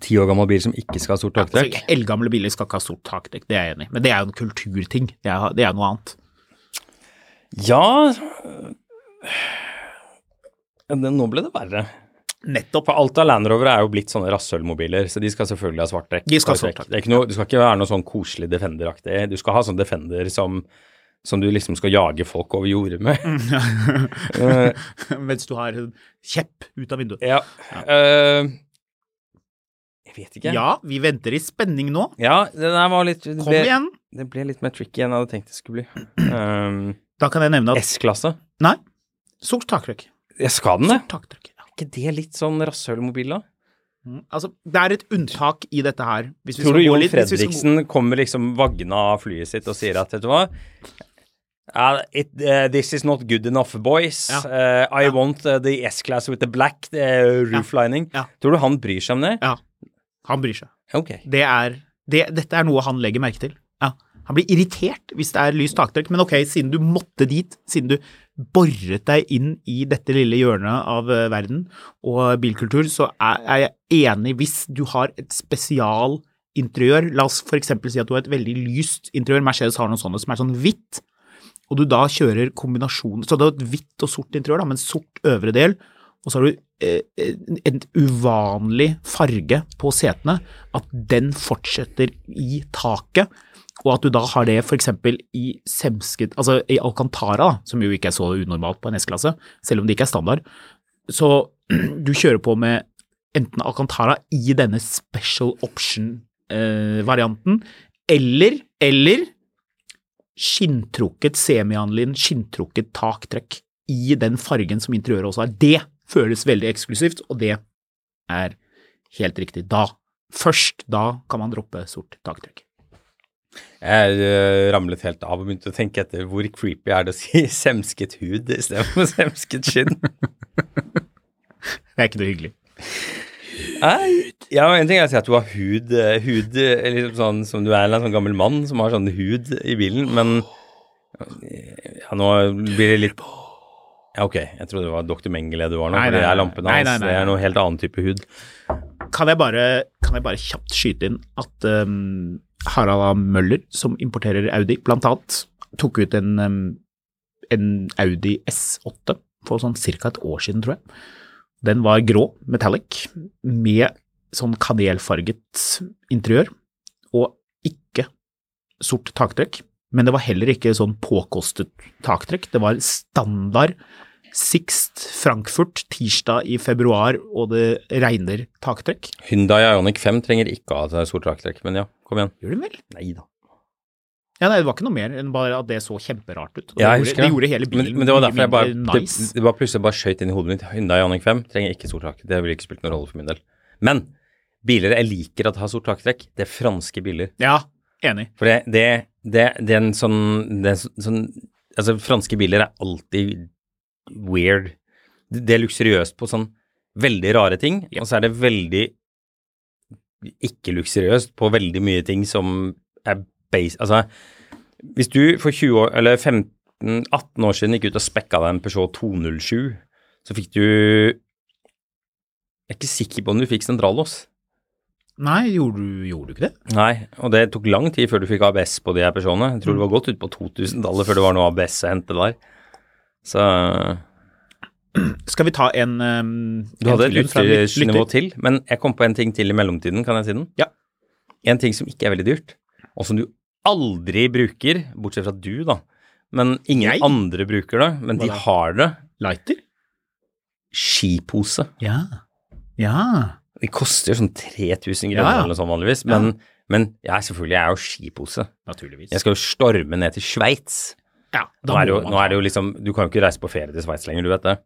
S3: Ti år gammel bil som ikke skal ha sort taktrekk.
S2: Altså, Eldgamle biler skal ikke ha sort takdekk, det er jeg enig i. Men det er jo en kulturting. Det er, det er noe annet.
S3: Ja Den, nå ble det verre.
S2: Nettopp.
S3: For alt av Land Rover er jo blitt sånne rasshølmobiler, så de skal selvfølgelig ha svart trekk.
S2: De skal ha
S3: Fargetrekk.
S2: svart trekk,
S3: Det, er ikke noe, det skal ikke være noe sånn koselig Defender-aktig. Du skal ha sånn Defender som, som du liksom skal jage folk over jordet med. Eh,
S2: Mens du har en kjepp ut av vinduet.
S3: ja. Eh, jeg vet ikke.
S2: Ja, vi venter i spenning nå.
S3: Ja, det der var litt det
S2: Kom
S3: ble,
S2: igjen.
S3: Det ble litt mer tricky enn jeg hadde tenkt det skulle bli. Eh,
S2: Da kan jeg nevne at
S3: S-klasse.
S2: Nei. Sort taktrykk.
S3: Jeg skal den, det.
S2: Sort taktrykk. ja.
S3: Er ikke det litt sånn rasshølmobil, da?
S2: Mm. Altså, det er et unntak i dette her. Hvis vi skal
S3: Tror du
S2: gå
S3: Jon
S2: litt- hvis vi skal gå-
S3: Fredriksen kommer liksom vaggende av flyet sitt og sier at, vet du hva Uh, it, uh, this is not good enough, boys.
S2: Ja.
S3: Uh, I want uh, the S-class with the black uh, rooflining.
S2: Ja.
S3: Tror du han bryr seg om det?
S2: Ja. Han bryr seg.
S3: Ok.
S2: Det er, det, dette er noe han legger merke til. Ja. Han blir irritert hvis det er lyst taktrykk, men ok, siden du måtte dit, siden du boret deg inn i dette lille hjørnet av eh, verden og bilkultur, så er, er jeg enig hvis du har et spesialinteriør. La oss for eksempel si at du har et veldig lyst interiør. Mercedes har noen sånne som er sånn hvitt, og du da kjører kombinasjonen Så du har et hvitt og sort interiør, da, med en sort øvre del, og så har du eh, en en uvanlig farge på setene, at den fortsetter i taket. Og at du da har det f.eks. i semsket Altså i Alcantara, da, som jo ikke er så unormalt på en S-klasse, selv om det ikke er standard. Så du kjører på med enten Alcantara i denne special option-varianten, eller, eller skinntrukket semianlin, skinntrukket taktrekk i den fargen som interiøret også har. Det føles veldig eksklusivt, og det er helt riktig. Da, først da, kan man droppe sort taktrekk.
S3: Jeg uh, ramlet helt av og begynte å tenke etter hvor creepy er det å si semsket hud istedenfor semsket skinn.
S2: Det er ikke noe hyggelig.
S3: Nei, ja, en ting er å si at du har hud, eh, hud eh, liksom sånn som du er en sånn gammel mann som har sånn hud i bilen, men ja, nå blir det litt Ja, ok, jeg trodde det var Dr. Mengele du var nå,
S2: Nei,
S3: for det
S2: nei,
S3: er
S2: nei.
S3: lampene
S2: Nei,
S3: hans,
S2: nei, nei,
S3: det er
S2: nei.
S3: noe helt annen type hud.
S2: Kan jeg bare, kan jeg bare kjapt skyte inn at um, Harald A. Møller, som importerer Audi, blant annet, tok ut en, um, en Audi S8 for sånn cirka et år siden, tror jeg. Den var grå, metallic, med sånn kanelfarget interiør, og ikke sort taktrekk. Men det var heller ikke sånn påkostet taktrekk. Det var standard Sixt Frankfurt tirsdag i februar, og det regner taktrekk.
S3: Hyundai Ioniq 5 trenger ikke å ha sort raktrekk, men ja, kom igjen.
S2: Gjør den vel?
S3: Nei da.
S2: Ja, nei, det var ikke noe mer enn bare at det så kjemperart ut. Og
S3: Ja,
S2: det, gjorde,
S3: jeg husker
S2: det gjorde hele bilen
S3: men, men det var
S2: mye
S3: derfor jeg bare
S2: mindre nice.
S3: det, det var plutselig bare skøyt inn i hodet mitt. Hyundai Ioniq 5 trenger ikke sort raktrekk, det ville ikke spilt noen rolle for min del. Men biler jeg liker at har sort raktrekk, det er franske biler.
S2: Ja, enig.
S3: For det, det, det, det er en sånn, det er så- sånn Altså, franske biler er alltid weird. Det det er luksuriøst på sånn veldig rare ting, og så er det veldig ikke luksuriøst på veldig mye ting som er base... Altså, hvis du for 20 år, eller 15, 18 år siden gikk ut og spekka deg en Peugeot 207, så fikk du Jeg er ikke sikker på om du fikk sentrallås.
S2: Nei, gjorde du, gjorde du ikke det?
S3: Nei, og det tok lang tid før du fikk ABS på de her personene.
S2: Mm.
S3: Jeg tror det var godt ut på 2000-tallet før det var noe ABS å hente der. Så
S2: Skal vi ta en ehm,
S3: du
S2: en
S3: hadde et
S2: til fra en lyt-
S3: utstyrsnivå
S2: lytter?
S3: til, men jeg kom på en ting til i mellomtiden, kan jeg si den?
S2: Ja.
S3: En ting som ikke er veldig dyrt, og som du aldri bruker, bortsett fra du, da. Men ingen
S2: Jeg?
S3: andre bruker det, men
S2: Hva
S3: de
S2: da?
S3: har det.
S2: Lighter?
S3: Skipose.
S2: Ja. Ja.
S3: Det koster jo sånn 3000
S2: Ja,
S3: kroner
S2: ja.
S3: eller noe sånt vanligvis, men, men ja, selvfølgelig, jeg er jo skipose.
S2: Naturligvis.
S3: Jeg skal jo storme ned til Sveits.
S2: Ja, da
S3: Nå er, det jo,
S2: må man
S3: nå
S2: ha-
S3: er det jo liksom Du kan jo ikke reise på ferie til Sveits lenger, du vet det.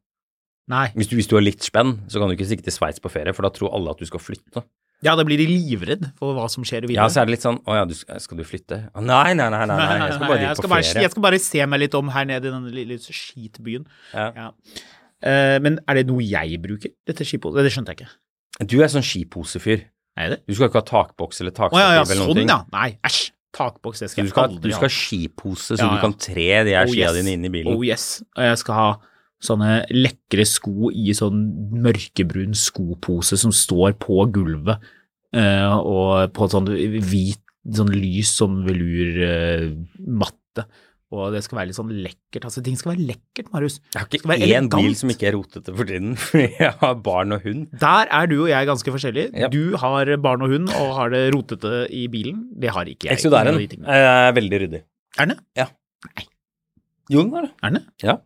S2: Nei.
S3: Hvis du, hvis du har litt spenn, så kan du ikke stikke til Sveits på ferie, for da tror alle at du skal flytte.
S2: Ja, da blir de livredd for hva som skjer videre.
S3: Ja, så er det litt sånn Å ja, du, skal skal du flytte? Å, nei, nei, nei, nei, nei, jeg skal bare
S2: Nei, jeg
S3: dit
S2: skal
S3: på
S2: bare,
S3: ferie.
S2: jeg skal bare se meg litt om her nede i denne lille skitbyen.
S3: Ja.
S2: Ja. Eh, men er det noe jeg bruker, dette skipholdet? Det skjønte jeg ikke.
S3: Du er sånn skiposefyr.
S2: Er det?
S3: Du skal ikke ha takboks eller
S2: Å ja, ja,
S3: takstativ eller noe.
S2: sånn ja. Nei, æsj. Takboks, det
S3: Så
S2: skal
S3: du
S2: jeg
S3: skal, du
S2: aldri
S3: skal
S2: ha.
S3: ha skipose, så
S2: Ja,
S3: du
S2: ja.
S3: kan tre de her skia dine inn i bilen.
S2: Oh yes. Og jeg skal ha sånne lekre sko i sånn mørkebrun skopose som står på gulvet, eh, og på sånn hvit, sånn lys sånn velurmatte. eh, matte Og det skal være litt sånn lekkert. Altså, ting skal være lekkert, Marius.
S3: Jeg har
S2: Det skal
S3: ikke
S2: være
S3: én bil
S2: elegant.
S3: som ikke er rotete for tiden, fordi jeg har barn og hund.
S2: Der er du og jeg ganske forskjellige.
S3: Ja.
S2: Du har barn og hund og har det rotete i bilen. Det har ikke jeg.
S3: Exodaren
S2: Ingen av de tingene.
S3: er veldig ryddig.
S2: Er den det?
S3: Jo, den er det.
S2: Er den det?
S3: Ja.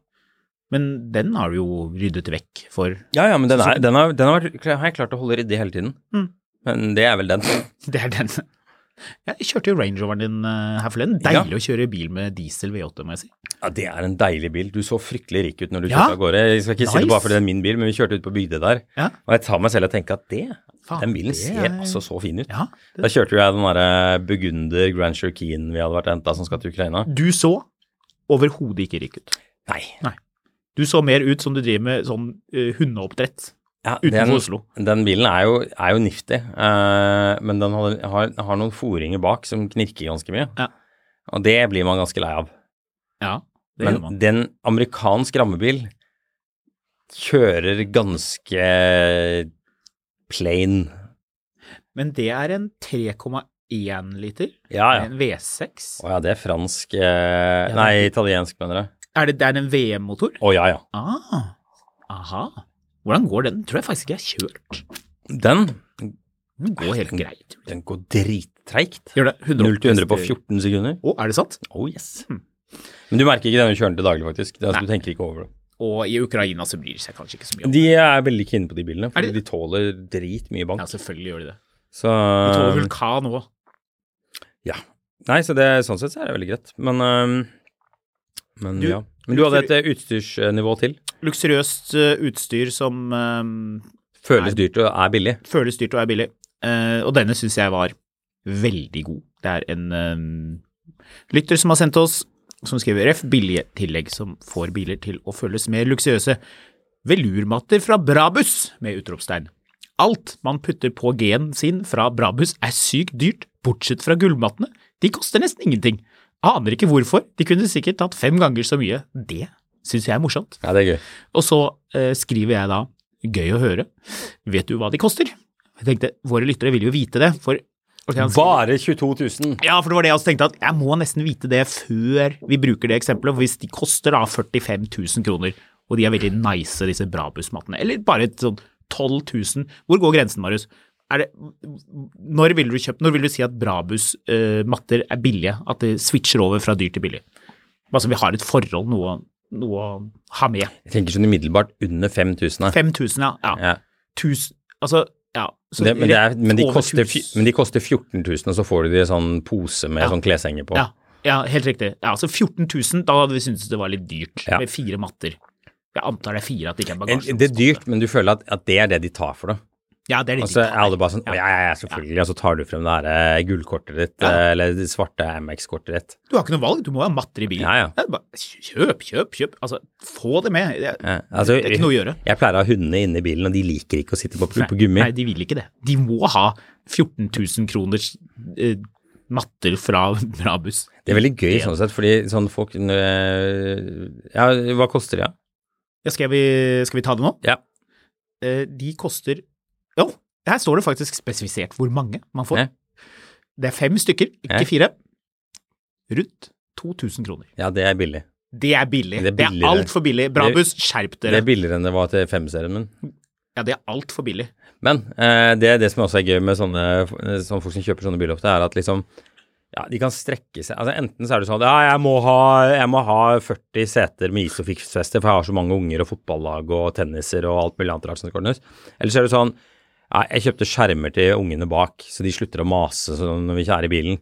S2: Men den har du jo ryddet vekk for.
S3: Ja, ja, men den, er, den, har, den har, vært- har jeg klart å holde ryddig hele tiden.
S2: Mm.
S3: Men det er vel den.
S2: Det er den. Jeg kjørte jo Range Roveren din eh, her forleden.
S3: Ja.
S2: Deilig å kjøre bil med diesel V8, må jeg si.
S3: Ja, det er en deilig bil. Du så fryktelig rik ut når du
S2: Ja.
S3: kjørte av gårde. Jeg skal ikke si det
S2: Nice.
S3: bare fordi det er min bil, men vi kjørte ut på Bygdøy der.
S2: Ja.
S3: Og jeg tar meg selv og tenker at det,
S2: Faen,
S3: den bilen
S2: det
S3: ser
S2: er-
S3: altså så fin ut.
S2: Ja.
S3: Da kjørte jo jeg den derre Burgunder Grand Cherokeen vi hadde vært henta som skal til Ukraina.
S2: Du så overhodet ikke rik ut.
S3: Nei.
S2: Du så mer ut som du driver med sånn eh, hundeoppdrett.
S3: Ja,
S2: Utenfor
S3: den,
S2: Oslo.
S3: Den bilen er jo, er jo nifty, eh, men den har, har, har noen foringer bak som knirker ganske mye.
S2: Ja.
S3: Og det blir man ganske lei av.
S2: Ja, det gjør
S3: Men
S2: man.
S3: den amerikansk rammebil kjører ganske plain.
S2: Men det er en 3,1 liter.
S3: Ja,
S2: Det er
S3: ja.
S2: En V6.
S3: Å ja, det er fransk eh,
S2: det er-
S3: Nei, italiensk, mener jeg.
S2: Er det, det er en VM-motor?
S3: Å ja, ja.
S2: Ah, aha. Hvordan går den? Tror jeg faktisk ikke jeg har kjørt.
S3: Den,
S2: Den går helt greit.
S3: den går drittreigt.
S2: Gjør det.
S3: 0 til 100 på
S2: hester.
S3: 14 sekunder.
S2: Å, er det sant? Hmm.
S3: Oh yes. Men du merker ikke det når du kjører den til daglig, faktisk. Det er, altså, du tenker ikke over det.
S2: Og i Ukraina så bryr de seg kanskje ikke så mye om det.
S3: De er veldig keen på de bilene,
S2: Er
S3: for
S2: de-
S3: de tåler dritmye
S2: Ja,
S3: bank.
S2: selvfølgelig gjør de det.
S3: Så
S2: De tåler vulkan òg.
S3: ja. Nei, så det, sånn sett så er det veldig greit. Men, øhm, men
S2: Du-
S3: ja. Men du hadde et eh, utstyrsnivå til.
S2: Luksuriøst eh, utstyr som eh,
S3: Føles dyrt og er billig.
S2: føles dyrt og er billig. Eh, og denne syns jeg var veldig god. Det er en eh, lytter som har sendt oss, som skriver RF, billige tillegg som får biler til å føles mer luksuriøse. Velurmatter fra Brabus! med utropstegn. Alt man putter på G-en sin fra Brabus er sykt dyrt, bortsett fra gulvmattene. De koster nesten ingenting. Aner ikke hvorfor, de kunne sikkert tatt fem ganger så mye. Det syns jeg er morsomt.
S3: Ja, det er gøy.
S2: Og så eh, skriver jeg da gøy å høre, vet du hva de koster? Jeg tenkte, våre lyttere vil jo vite det, for Ok, han skriver-
S3: Bare 22 000.
S2: Ja, for det var det jeg også tenkte, at jeg må nesten vite det før vi bruker det eksempelet, for hvis de koster da 45 000 kroner, og de er veldig nice, disse Brabus-mattene, eller bare et sånn 12 000, hvor går grensen, Marius? Er det, når vil du kjøpe, når vil du si at Brabus-matter er billige, at det switcher over fra dyr til billig? Altså, vi har et forhold, noe, noe å ha med.
S3: Jeg tenker sånn umiddelbart under 5000. her.
S2: 5000, ja. ja.
S3: Ja.
S2: Tusen, altså, ja. Så
S3: Det, men, det er, men, de
S2: over
S3: koster,
S2: tusen.
S3: fj- men de koster 14 000, og så får du de i sånn pose med sånn kleshenger på.
S2: ja, ja, helt riktig. Ja, så 14 000, da hadde vi syntes det var litt dyrt
S3: Ja.
S2: med fire matter. Jeg antar det er fire, at det ikke er
S3: En-
S2: bagasje.
S3: Det er dyrt, men du føler at, at det er det de tar for det.
S2: Ja, det er det
S3: Og så
S2: de
S3: er
S2: tar.
S3: alle bare sånn Å ja, ja, ja, selvfølgelig. Og så tar du frem det her eh, gullkortet ditt, eh, eller det svarte MX-kortet ditt.
S2: Du har ikke noe valg, du må ha matter i bilen.
S3: Ja, ja.
S2: Det er bare, kjøp, kjøp, kjøp. Altså, få det med. Det,
S3: Ja, altså,
S2: det er ikke noe å gjøre.
S3: Jeg pleier å ha hundene inne i bilen, og de liker ikke å sitte på, på gummi.
S2: Nei, de vil ikke det. De må ha 14 000 kroners eh, matter fra Brabus.
S3: Det er veldig gøy sånn sett, fordi sånn folk eh, Ja, hva koster de, da?
S2: Ja, skal, vi, skal vi ta det nå?
S3: Ja?
S2: Eh, de koster Jo, her står det faktisk spesifisert hvor mange man får.
S3: Ja.
S2: Det er fem stykker, ikke
S3: Ja.
S2: fire. Rundt 2000 kroner.
S3: ja, det er billig.
S2: Det er billig.
S3: Det er
S2: Det er,
S3: billigere.
S2: altfor billig. Brabus, skjerp
S3: Det
S2: dere.
S3: er billigere enn det var til femserien min.
S2: ja, det er altfor billig.
S3: Men eh, det, det som også er gøy med sånne, eh, sånne folk som kjøper sånne biler ofte, er at liksom ja, De kan strekke seg. Altså Enten så er det sånn at ja, jeg må ha, jeg må ha 40 seter med isofix-feste, for jeg har så mange unger og fotballag og tenniser og alt mulig annet rart. som det ordnes. Eller så er det sånn ja, jeg kjøpte skjermer til ungene bak, så de slutter å mase sånn når vi ikke er i bilen.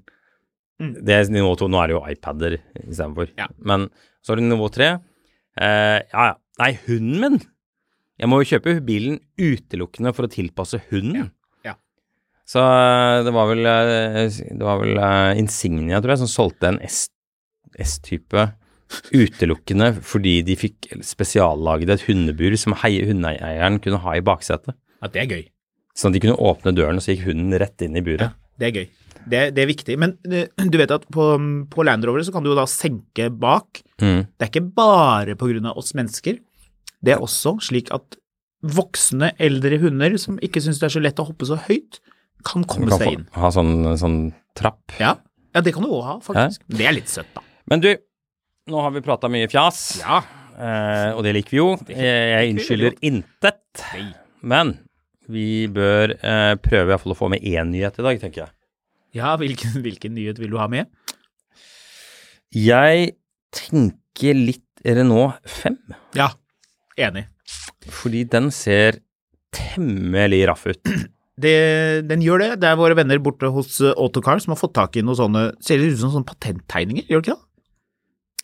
S3: Det er nivå to. Nå er det jo iPader istedenfor.
S2: Mm. Ja.
S3: Men så har du nivå tre. Eh, ja, ja. Nei, hunden min! Jeg må jo kjøpe bilen utelukkende for å tilpasse hunden.
S2: Ja. Ja.
S3: Så eh, det var vel, eh, det var vel eh, Insignia, tror jeg, som solgte en S- S-type utelukkende fordi de fikk spesiallaget et hundebur som hei- hundeeieren kunne ha i baksetet.
S2: Ja, det er gøy.
S3: Sånn at de kunne åpne døren, og så gikk hunden rett inn i buret.
S2: Det er gøy. Det, det er viktig. Men eh, du vet at på, på Land Rover så kan du jo da senke bak.
S3: Mm.
S2: Det er ikke bare på grunn av oss mennesker. Det er også slik at voksne, eldre hunder som ikke syns det er så lett å hoppe så høyt, kan
S3: Du
S2: komme
S3: kan
S2: seg
S3: få,
S2: inn.
S3: ha sånn, sånn trapp.
S2: Ja. ja, det kan du òg ha, faktisk. Det er litt søtt, da.
S3: Men du, nå har vi prata mye fjas,
S2: Ja.
S3: eh, og det liker vi jo. Jeg, jeg
S2: veldig
S3: unnskylder intet. Men vi bør eh, prøve i hvert fall å få med én nyhet i dag, tenker jeg.
S2: Ja, hvilken, hvilken nyhet vil du ha med?
S3: Jeg tenker litt Renault 5,
S2: Ja, enig.
S3: fordi den ser temmelig raff ut.
S2: Det, den gjør det. Det er våre venner borte hos eh, Autocar som har fått tak i noen sånne Ser det ut som sånne patenttegninger, gjør det ikke det?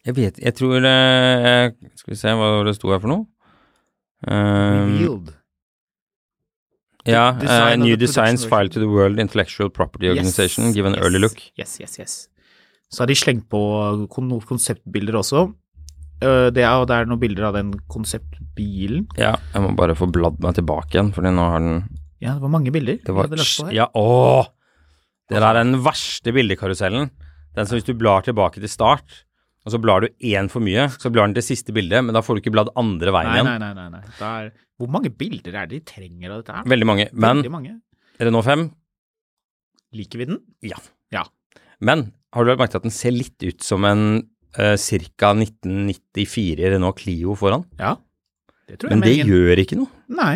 S3: Jeg vet Jeg tror eh, Skal vi se hva det sto her for noe?
S2: Um,
S3: Eh,
S2: Revealed.
S3: ja.
S2: The design of
S3: eh,
S2: the
S3: new
S2: production
S3: designs filed to the World Intellectual Property Organization give an
S2: yes,
S3: early look.
S2: Yes, yes, yes. Så har de slengt på kon- noen konseptbilder også. Eh, Det er, og det er noen bilder av den konseptbilen.
S3: Ja, jeg må bare få bladd meg tilbake igjen, fordi nå har den
S2: Ja, det var mange bilder.
S3: Det
S2: vi
S3: var
S2: hadde lagt på her.
S3: Ja, åh! Det der er den verste bildekarusellen. Den som hvis du blar tilbake til start, og så blar du én for mye, så blar den til siste bildet, men da får du ikke bladd andre veien
S2: Nei,
S3: igjen.
S2: nei, nei. nei, nei. Det er, hvor mange bilder er det de trenger av dette her?
S3: Veldig mange. Men
S2: Veldig mange.
S3: Renault 5,
S2: Liker vi den?
S3: ja.
S2: Ja.
S3: Men har du lagt merke til at den ser litt ut som en uh, ca. 1994 Renault Clio foran?
S2: Ja. Det tror jeg.
S3: Men det
S2: ingen-
S3: gjør ikke noe.
S2: Nei.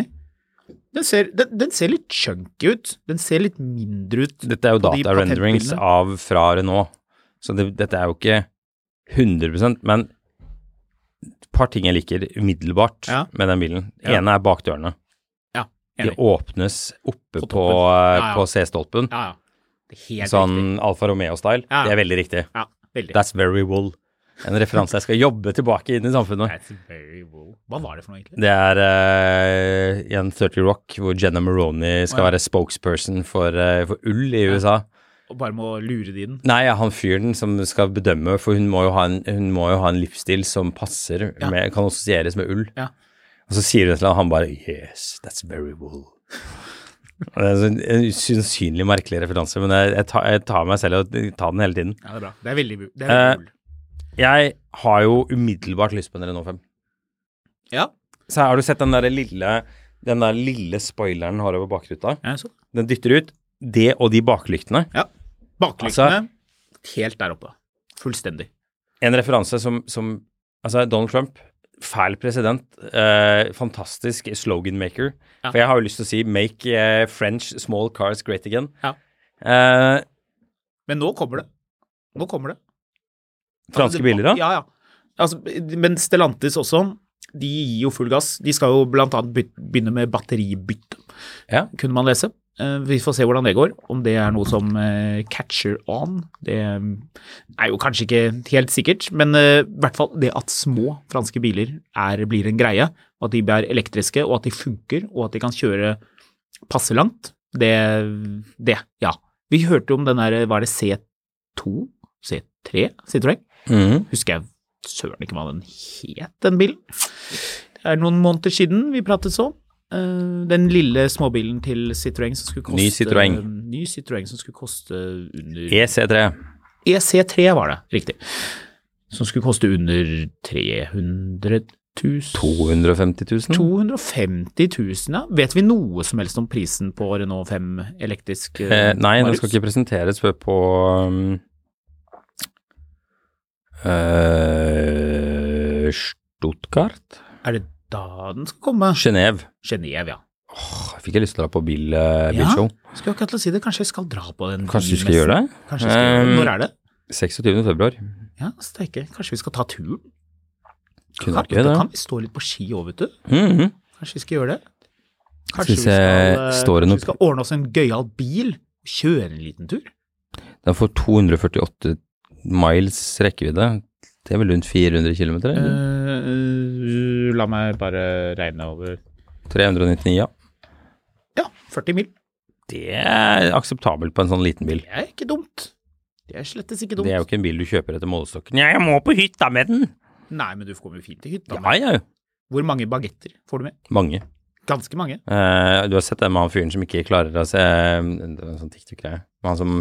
S2: Den ser, den, den ser litt chunky ut. Den ser litt mindre ut.
S3: Dette er jo
S2: på de
S3: data-renderings
S2: patentbildene.
S3: av fra Renault, så det, dette er jo ikke 100 men et par ting jeg liker umiddelbart
S2: Ja.
S3: med den bilen.
S2: Ja.
S3: ene er bakdørene.
S2: Ja,
S3: De
S2: enig.
S3: åpnes oppe
S2: På
S3: på,
S2: toppen.
S3: eh,
S2: Ja, ja.
S3: på C-stolpen,
S2: Ja, ja. Det er helt riktig.
S3: sånn Alfa Romeo-style.
S2: Ja, ja.
S3: Det er veldig riktig.
S2: Ja, veldig.
S3: That's very wool. En referanse jeg skal jobbe tilbake inn i samfunnet.
S2: That's very well. Hva var det for noe, egentlig?
S3: Det er eh, i en 30 Rock hvor Jenna Maroney skal
S2: Ja.
S3: være spokesperson for, eh, for ull i USA.
S2: Og bare må lure de inn.
S3: Nei, ja, han fyren som skal bedømme, for hun må jo ha en, hun må jo ha en livsstil som passer,
S2: Ja.
S3: med, kan assosieres med ull.
S2: Ja.
S3: Og så sier hun et eller annet, han bare Yes, that's very wool. Og det er en sånn- en usannsynlig merkelig referanse, men jeg, jeg, tar, jeg tar meg selv i å ta den hele tiden.
S2: Ja, det er bra. Det er veldig, bu- det er
S3: Eh,
S2: veldig uh,
S3: Jeg har jo umiddelbart lyst på en Renault 5.
S2: Ja.
S3: Så har du sett den der lille, den der lille spoileren den har over bakruta?
S2: ja så.
S3: Den dytter ut. Det og de baklyktene.
S2: ja. Baklyktene
S3: altså-
S2: helt der oppe. Fullstendig.
S3: en referanse som, som Altså, Donald Trump, fæl president, eh, fantastisk sloganmaker.
S2: Ja.
S3: For jeg har jo lyst til å si 'Make eh, French small cars great again'.
S2: Ja.
S3: Eh,
S2: Men nå kommer det. Nå kommer det.
S3: franske
S2: Altså, det-
S3: biler, da?
S2: Ja, ja. Altså, men Stellantis også, de gir jo full gass. De skal jo blant annet byt- begynne med batteribytte,
S3: Ja.
S2: kunne man lese. Eh, Vi får se hvordan det går, om det er noe som eh, catcher on. Det eh, er jo kanskje ikke helt sikkert, men eh, i hvert fall det at små franske biler er, blir en greie, og at de blir elektriske, og at de funker, og at de kan kjøre passe langt, det, det ja. Vi hørte jo om den der, var det C2? C3? Citroën?
S3: Mhm.
S2: husker jeg søren ikke hva den het, den bilen. Det er noen måneder siden vi pratet så. Eh, den lille småbilen til Citroën som skulle koste
S3: Ny Citroën. E
S2: eh, Ny Citroën som skulle koste under
S3: EC3.
S2: EC3 var det, riktig. Som skulle koste under 300 000
S3: 250 000?
S2: 250 000, ja. Vet vi noe som helst om prisen på Renault 5 elektrisk?
S3: Eh, nei, den
S2: Marius?
S3: skal ikke presenteres før på um, eh, Stuttgart?
S2: Er det da den skal komme?
S3: Genéve.
S2: Genéve, ja.
S3: Åh, Fikk jeg lyst til å dra på bil, eh, bilshow.
S2: Ja, skulle akkurat til å si det. Kanskje jeg skal dra på den.
S3: Kanskje du skal
S2: bilmessen.
S3: gjøre det?
S2: Kanskje jeg skal gjøre det.
S3: Um,
S2: Når er det?
S3: 26. februar.
S2: Ja, altså, steike. Kanskje vi skal ta turen?
S3: Kunne
S2: Kan,
S3: vært gøy, det.
S2: da kan vi stå litt på ski òg, vet du.
S3: Mhm.
S2: Kanskje vi skal gjøre det?
S3: Skal vi se,
S2: eh,
S3: står
S2: kanskje
S3: det noe-
S2: vi skal ordne oss en gøyal bil? Kjøre en liten tur?
S3: Den får 248 miles rekkevidde. Det er vel rundt 400 km?
S2: Eh, la meg bare regne over
S3: 399, ja.
S2: Ja, 40 mil.
S3: Det er akseptabelt på en sånn liten bil.
S2: Det er ikke dumt. Det er slettes ikke dumt.
S3: Det er jo ikke en bil du kjøper etter målestokken. Ja, jeg må på hytta med den!
S2: Nei, men du kommer jo fint til hytta.
S3: Ja, ja, jo.
S2: Hvor mange bagetter får du med?
S3: Mange.
S2: Ganske mange.
S3: Eh, du har sett det med han fyren som ikke klarer å se Det var en sånn TikTok-greie. Men Han som,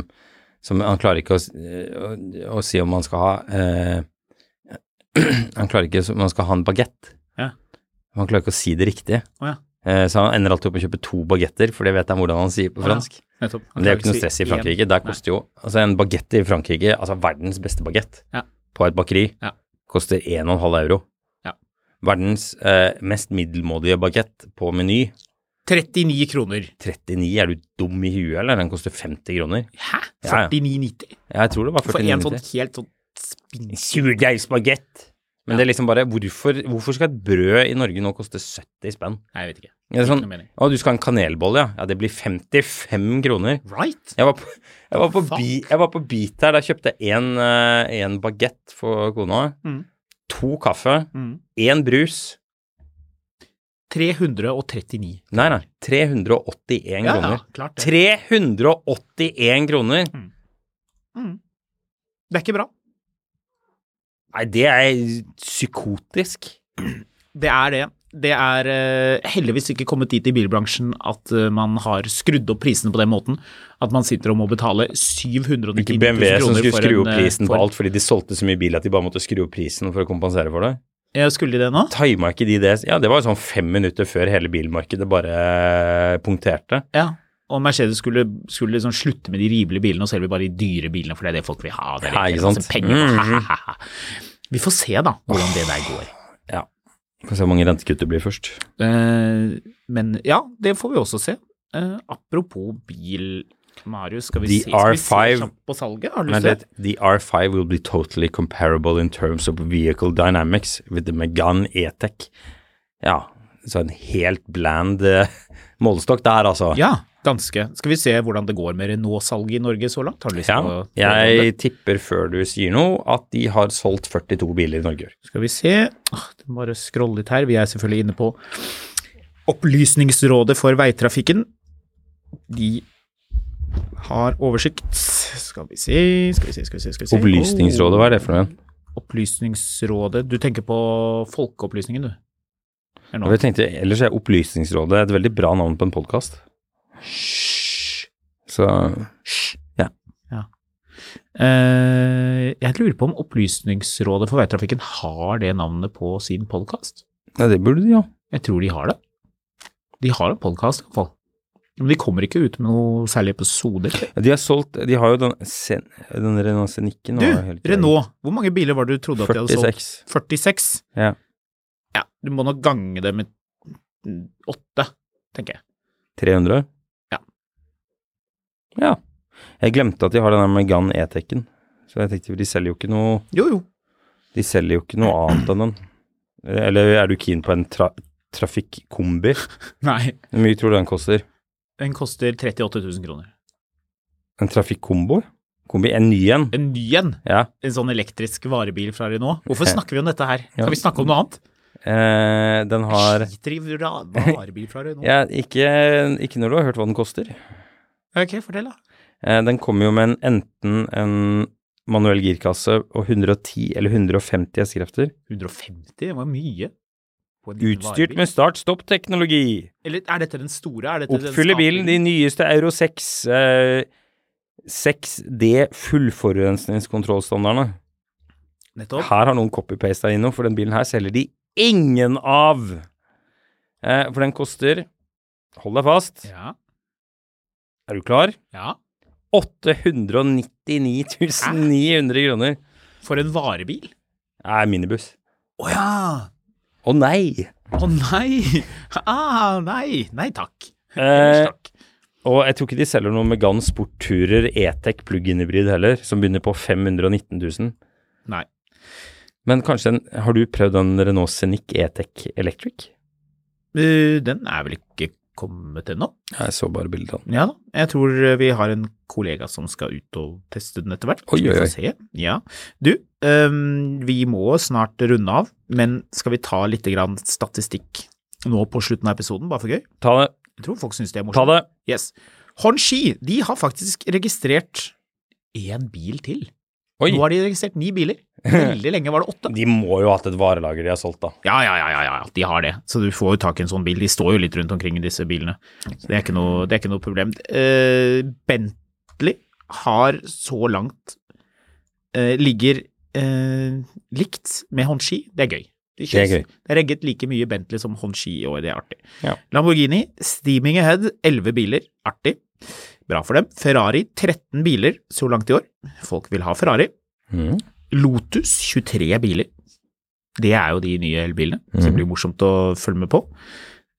S3: som Han klarer ikke å, s- eh, å, å si om han skal ha eh, Han klarer ikke om han skal ha en bagett.
S2: Ja.
S3: Han klarer ikke å si det riktig.
S2: Å ja.
S3: Eh, så han ender alltid opp med å kjøpe to bagetter, for det vet han hvordan han sier på
S2: Å ja.
S3: fransk.
S2: Nettopp.
S3: Men det er jo ikke noe stress i
S2: Én.
S3: Frankrike. Der koster jo altså en bagett i Frankrike, altså verdens beste bagett
S2: Ja.
S3: på et bakeri,
S2: Ja.
S3: koster 1,5 euro.
S2: Ja.
S3: Verdens eh, mest middelmådige bagett på Meny,
S2: 39 kroner.
S3: 39, er du dum i huet, eller? Den koster 50 kroner.
S2: Hæ?
S3: Ja, ja.
S2: 49,90
S3: Jeg tror det var
S2: for en
S3: 49,90.
S2: sånn helt sånn spinkel
S3: Surdeigsbagett. Men
S2: Ja.
S3: det er liksom bare hvorfor, hvorfor skal et brød i Norge nå koste 70 spenn?
S2: Nei, jeg vet ikke.
S3: Det er sånn,
S2: noe mening.
S3: å, du skal ha en kanelbolle, ja. Ja, det blir 55 kroner.
S2: Right?
S3: Jeg var på, jeg var på,
S2: Fuck.
S3: bi, jeg var på Beat her. Der kjøpte jeg en, eh, en bagett for kona.
S2: Mm.
S3: To kaffe.
S2: Mm.
S3: Én brus.
S2: 339.
S3: Nei, nei. 381
S2: Ja, ja,
S3: kroner.
S2: klart det.
S3: 381 kroner!
S2: Det er ikke bra.
S3: Nei, det er psykotisk.
S2: Det er det. Det er eh, heldigvis ikke kommet dit i bilbransjen at eh, man har skrudd opp prisene på den måten. At man sitter og må betale 799
S3: Ikke
S2: 000
S3: BMW
S2: kroner
S3: som skulle
S2: for
S3: skru
S2: en,
S3: opp
S2: eh,
S3: prisen på
S2: for-
S3: alt fordi de solgte så mye bil at de bare måtte skru opp prisen for å kompensere for det.
S2: Ja, skulle de det nå?
S3: Tima ikke de det? Ja, det var jo sånn fem minutter før hele bilmarkedet bare eh, punkterte.
S2: Ja. Og Mercedes skulle, skulle liksom slutte med de rimelige bilene og selge bare de dyre bilene, for det er det folk vil ha. Det er
S3: Ja,
S2: det
S3: ikke
S2: tjener masse
S3: sant? Mm.
S2: penger på. Vi får se da hvordan det der går.
S3: Ja. Får se hvor mange rentekutt det blir først.
S2: Eh, men ja, det får vi også se. Eh, apropos bil, Marius, skal vi
S3: The
S2: se, skal vi
S3: R5
S2: se kjapt på salget? Har du
S3: Nei,
S2: lyst til
S3: det, the R5 will be totally comparable in terms of vehicle dynamics with the Megane E-Tech. Ja, så en helt bland eh, målestokk der, altså.
S2: Ja, ganske. Skal vi se hvordan det går med Renault-salget i Norge så langt? Har du lyst til å
S3: Ja, jeg tipper før du sier noe at de har solgt 42 biler i Norge.
S2: Skal vi se. Åh, det må Bare scrolle litt her. Vi er selvfølgelig inne på Opplysningsrådet for veitrafikken. De har oversikt. Skal vi se, skal vi se, skal vi se. Skal vi se.
S3: Opplysningsrådet, hva er det for noe?
S2: Åh, Opplysningsrådet Du tenker på folkeopplysningen, du? Eller
S3: Og
S2: noe?
S3: jeg tenkte, ellers er Opplysningsrådet et veldig bra navn på en podkast. Så ja.
S2: Eh, jeg lurer på om Opplysningsrådet for veitrafikken har det navnet på sin podkast?
S3: ja, det burde de jo.
S2: Jeg tror de har det. De har en podkast, iallfall. Men de kommer ikke ut med noe særlig episoder.
S3: De har solgt De har jo den, sen, den Renault Scenic-en.
S2: Du, Renault, hvor mange biler var det du trodde at de hadde solgt?
S3: 46.
S2: 46.
S3: Ja.
S2: Ja, du må nok gange det med mm, åtte, tenker jeg.
S3: 300?
S2: Ja.
S3: Ja. Jeg glemte at de har den der Megane E-Tekken. Så jeg tenkte de selger jo ikke noe
S2: Jo, jo.
S3: De selger jo ikke noe annet enn den. Eller er du keen på en tra trafikkombi?
S2: Nei,
S3: Hvor mye tror du den koster?
S2: den koster 38 000 kroner.
S3: En trafikkombo? Kombi? En ny en?
S2: En ny en,
S3: Ja.
S2: en sånn elektrisk varebil fra Renault. Hvorfor
S3: Ja.
S2: snakker vi om dette her?
S3: Ja.
S2: Kan vi snakke om noe annet?
S3: Eh, den har
S2: Jeg Skiter i ra- varebil fra Renault.
S3: ja, ikke, ikke når du har hørt hva den koster.
S2: Ok, fortell da.
S3: Eh, den kommer jo med en, enten en manuell girkasse og 110 eller 150 hestekrefter.
S2: 150, det var mye. på en liten
S3: Utstyrt
S2: varebil.
S3: med start-stopp-teknologi.
S2: Eller er dette den store? Er dette den
S3: Oppfyller bilen de
S2: skapningen?
S3: nyeste Euro 6 eh, 6D fullforurensningskontrollstandardene.
S2: Nettopp.
S3: Her har noen copy-pasta innom, for den bilen her selger de ingen av. Eh, for den koster Hold deg fast.
S2: Ja.
S3: Er du klar?
S2: ja.
S3: 899 900 kroner.
S2: For en varebil.
S3: Nei, minibuss.
S2: Å ja!
S3: Å nei!
S2: Å nei! Ah, nei! Nei takk.
S3: Eh,
S2: Ellers takk.
S3: og jeg tror ikke de selger noe Megane Sportturer E-Tech plug-in hybrid heller, som begynner på 519 000.
S2: Nei.
S3: Men kanskje en, har du prøvd den Renault Scenic E-Tech Electric?
S2: Eh, Den er vel ikke kommet ennå?
S3: Jeg så bare bildet av den.
S2: Ja da. Jeg tror eh, vi har en kollega som skal ut og teste den etter hvert.
S3: Oi, oi, oi.
S2: Vi får se. Ja. Du, øhm, vi må snart runde av, men skal vi ta litt grann statistikk nå på slutten av episoden, bare for gøy?
S3: Ta det.
S2: Jeg tror folk syns det er
S3: Ta
S2: morsomt.
S3: det.
S2: Yes. Honshi de har faktisk registrert én bil til.
S3: Oi.
S2: Nå har de registrert ni biler. Veldig lenge var det åtte.
S3: De må jo ha hatt et varelager de har solgt, da.
S2: Ja, ja, ja, ja, ja, de har det. Så du får jo tak i en sånn bil. De står jo litt rundt omkring disse bilene. Så det er ikke noe, det er ikke noe problem. Eh, Bentley har så langt eh, ligger eh, likt med Honshi. Det er gøy. De
S3: Det er
S2: kjøres-
S3: gøy.
S2: Det er regget like mye Bentley som Honshi i år. Det er artig.
S3: Ja.
S2: Lamborghini, steaming ahead, 11 biler. Artig. Bra for dem. Ferrari, 13
S3: Mm.
S2: biler så langt i år. Folk vil ha Ferrari. Lotus 23 biler. Det er jo de nye elbilene, så det blir morsomt å følge med på.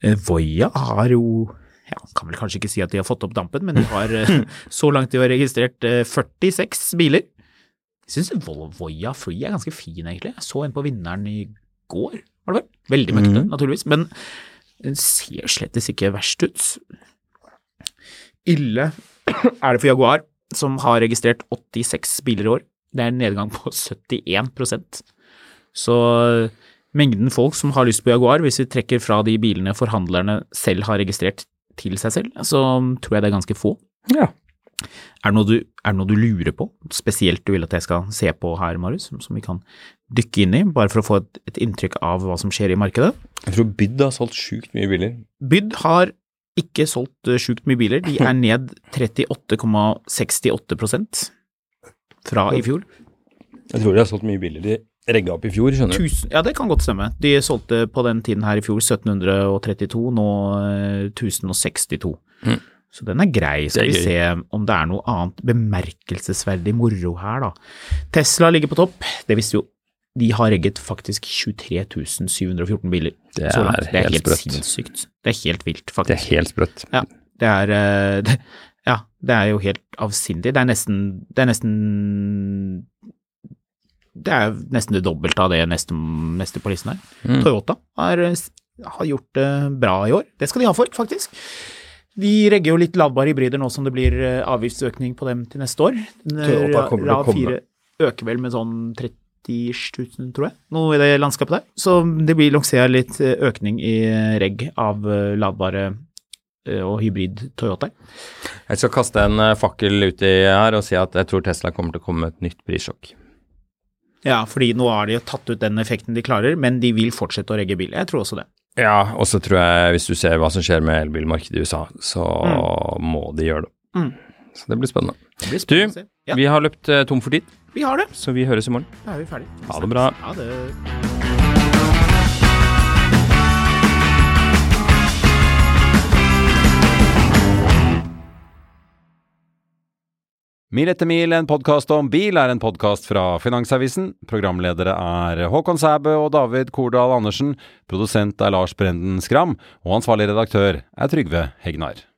S2: Eh, Voia har jo ja, Kan vel kanskje ikke si at de har fått opp dampen, men de har eh, så langt de har registrert eh, 46 biler. Jeg syns Voia Free er ganske fin, egentlig. Jeg så en på vinneren i går, var det vel? Veldig møkkete, naturligvis. Men den ser slettes ikke verst ut. Ille er det for Jaguar, som har registrert 86 biler i år. Det er en nedgang på 71 Så mengden folk som har lyst på Jaguar, hvis vi trekker fra de bilene forhandlerne selv har registrert til seg selv, så tror jeg det er ganske få.
S3: Ja.
S2: Er det noe du, er det noe du lurer på, spesielt du vil at jeg skal se på her, Marius, som, som vi kan dykke inn i, bare for å få et, et inntrykk av hva som skjer i markedet?
S3: Jeg tror Byd har solgt sjukt mye biler.
S2: Byd har ikke solgt eh, sjukt mye biler. De er ned 38,68 fra i fjor.
S3: Jeg tror de har solgt mye biler de regga opp i fjor, skjønner du.
S2: Tusen, ja, det kan godt stemme. De solgte på den tiden her i fjor 1732, nå eh, 1062.
S3: Mm.
S2: Så den er grei. Skal
S3: Det er
S2: vi
S3: gøy.
S2: se om det er noe annet bemerkelsesverdig moro her, da. Tesla ligger på topp. Det visste jo De har regget faktisk 23 714 biler
S3: Det
S2: så langt.
S3: er
S2: Det er
S3: helt
S2: helt,
S3: sprøtt.
S2: sinnssykt. Det er helt vilt, faktisk.
S3: Det er helt sprøtt.
S2: Ja, det er, eh, det, ja, det er jo helt avsindig. Det er nesten Det er nesten det er nesten det dobbelte av det neste, neste på listen her. Toyota har, eh, s- har gjort det bra i år. Det skal de ha for, faktisk. De regger jo litt ladbare hybrider nå som det blir eh, avgiftsøkning på dem til neste år. Den, eh,
S3: Toyota kommer til å
S2: Rav
S3: komme.
S2: 4 øker vel med sånn 30 000, tror jeg, noe i det landskapet der. Så det blir lansert litt eh, økning i eh, regg av eh, ladbare eh, og hybrid Toyota.
S3: Jeg skal kaste en eh, fakkel uti her og si at jeg tror Tesla kommer til å komme med et nytt prissjokk.
S2: Ja, fordi nå har de jo tatt ut den effekten de klarer, men de vil fortsette å regge bil. Jeg tror også det.
S3: Ja, og så tror jeg hvis du ser hva som skjer med elbilmarkedet i USA, så må de gjøre det.
S2: Mm.
S3: Så det blir spennende.
S2: blir spennende å
S3: Du,
S2: se. Ja.
S3: vi har løpt eh, tom for tid,
S2: Vi har det.
S3: så vi høres i morgen.
S2: Da er vi ferdig.
S3: Ha det bra.
S2: Ha det.
S6: Mil etter mil, en podkast om bil, er en podkast fra Finansavisen. Programledere er Håkon Sæbø og David Kordal Andersen. Produsent er Lars Brenden Skram. Og ansvarlig redaktør er Trygve Hegnar.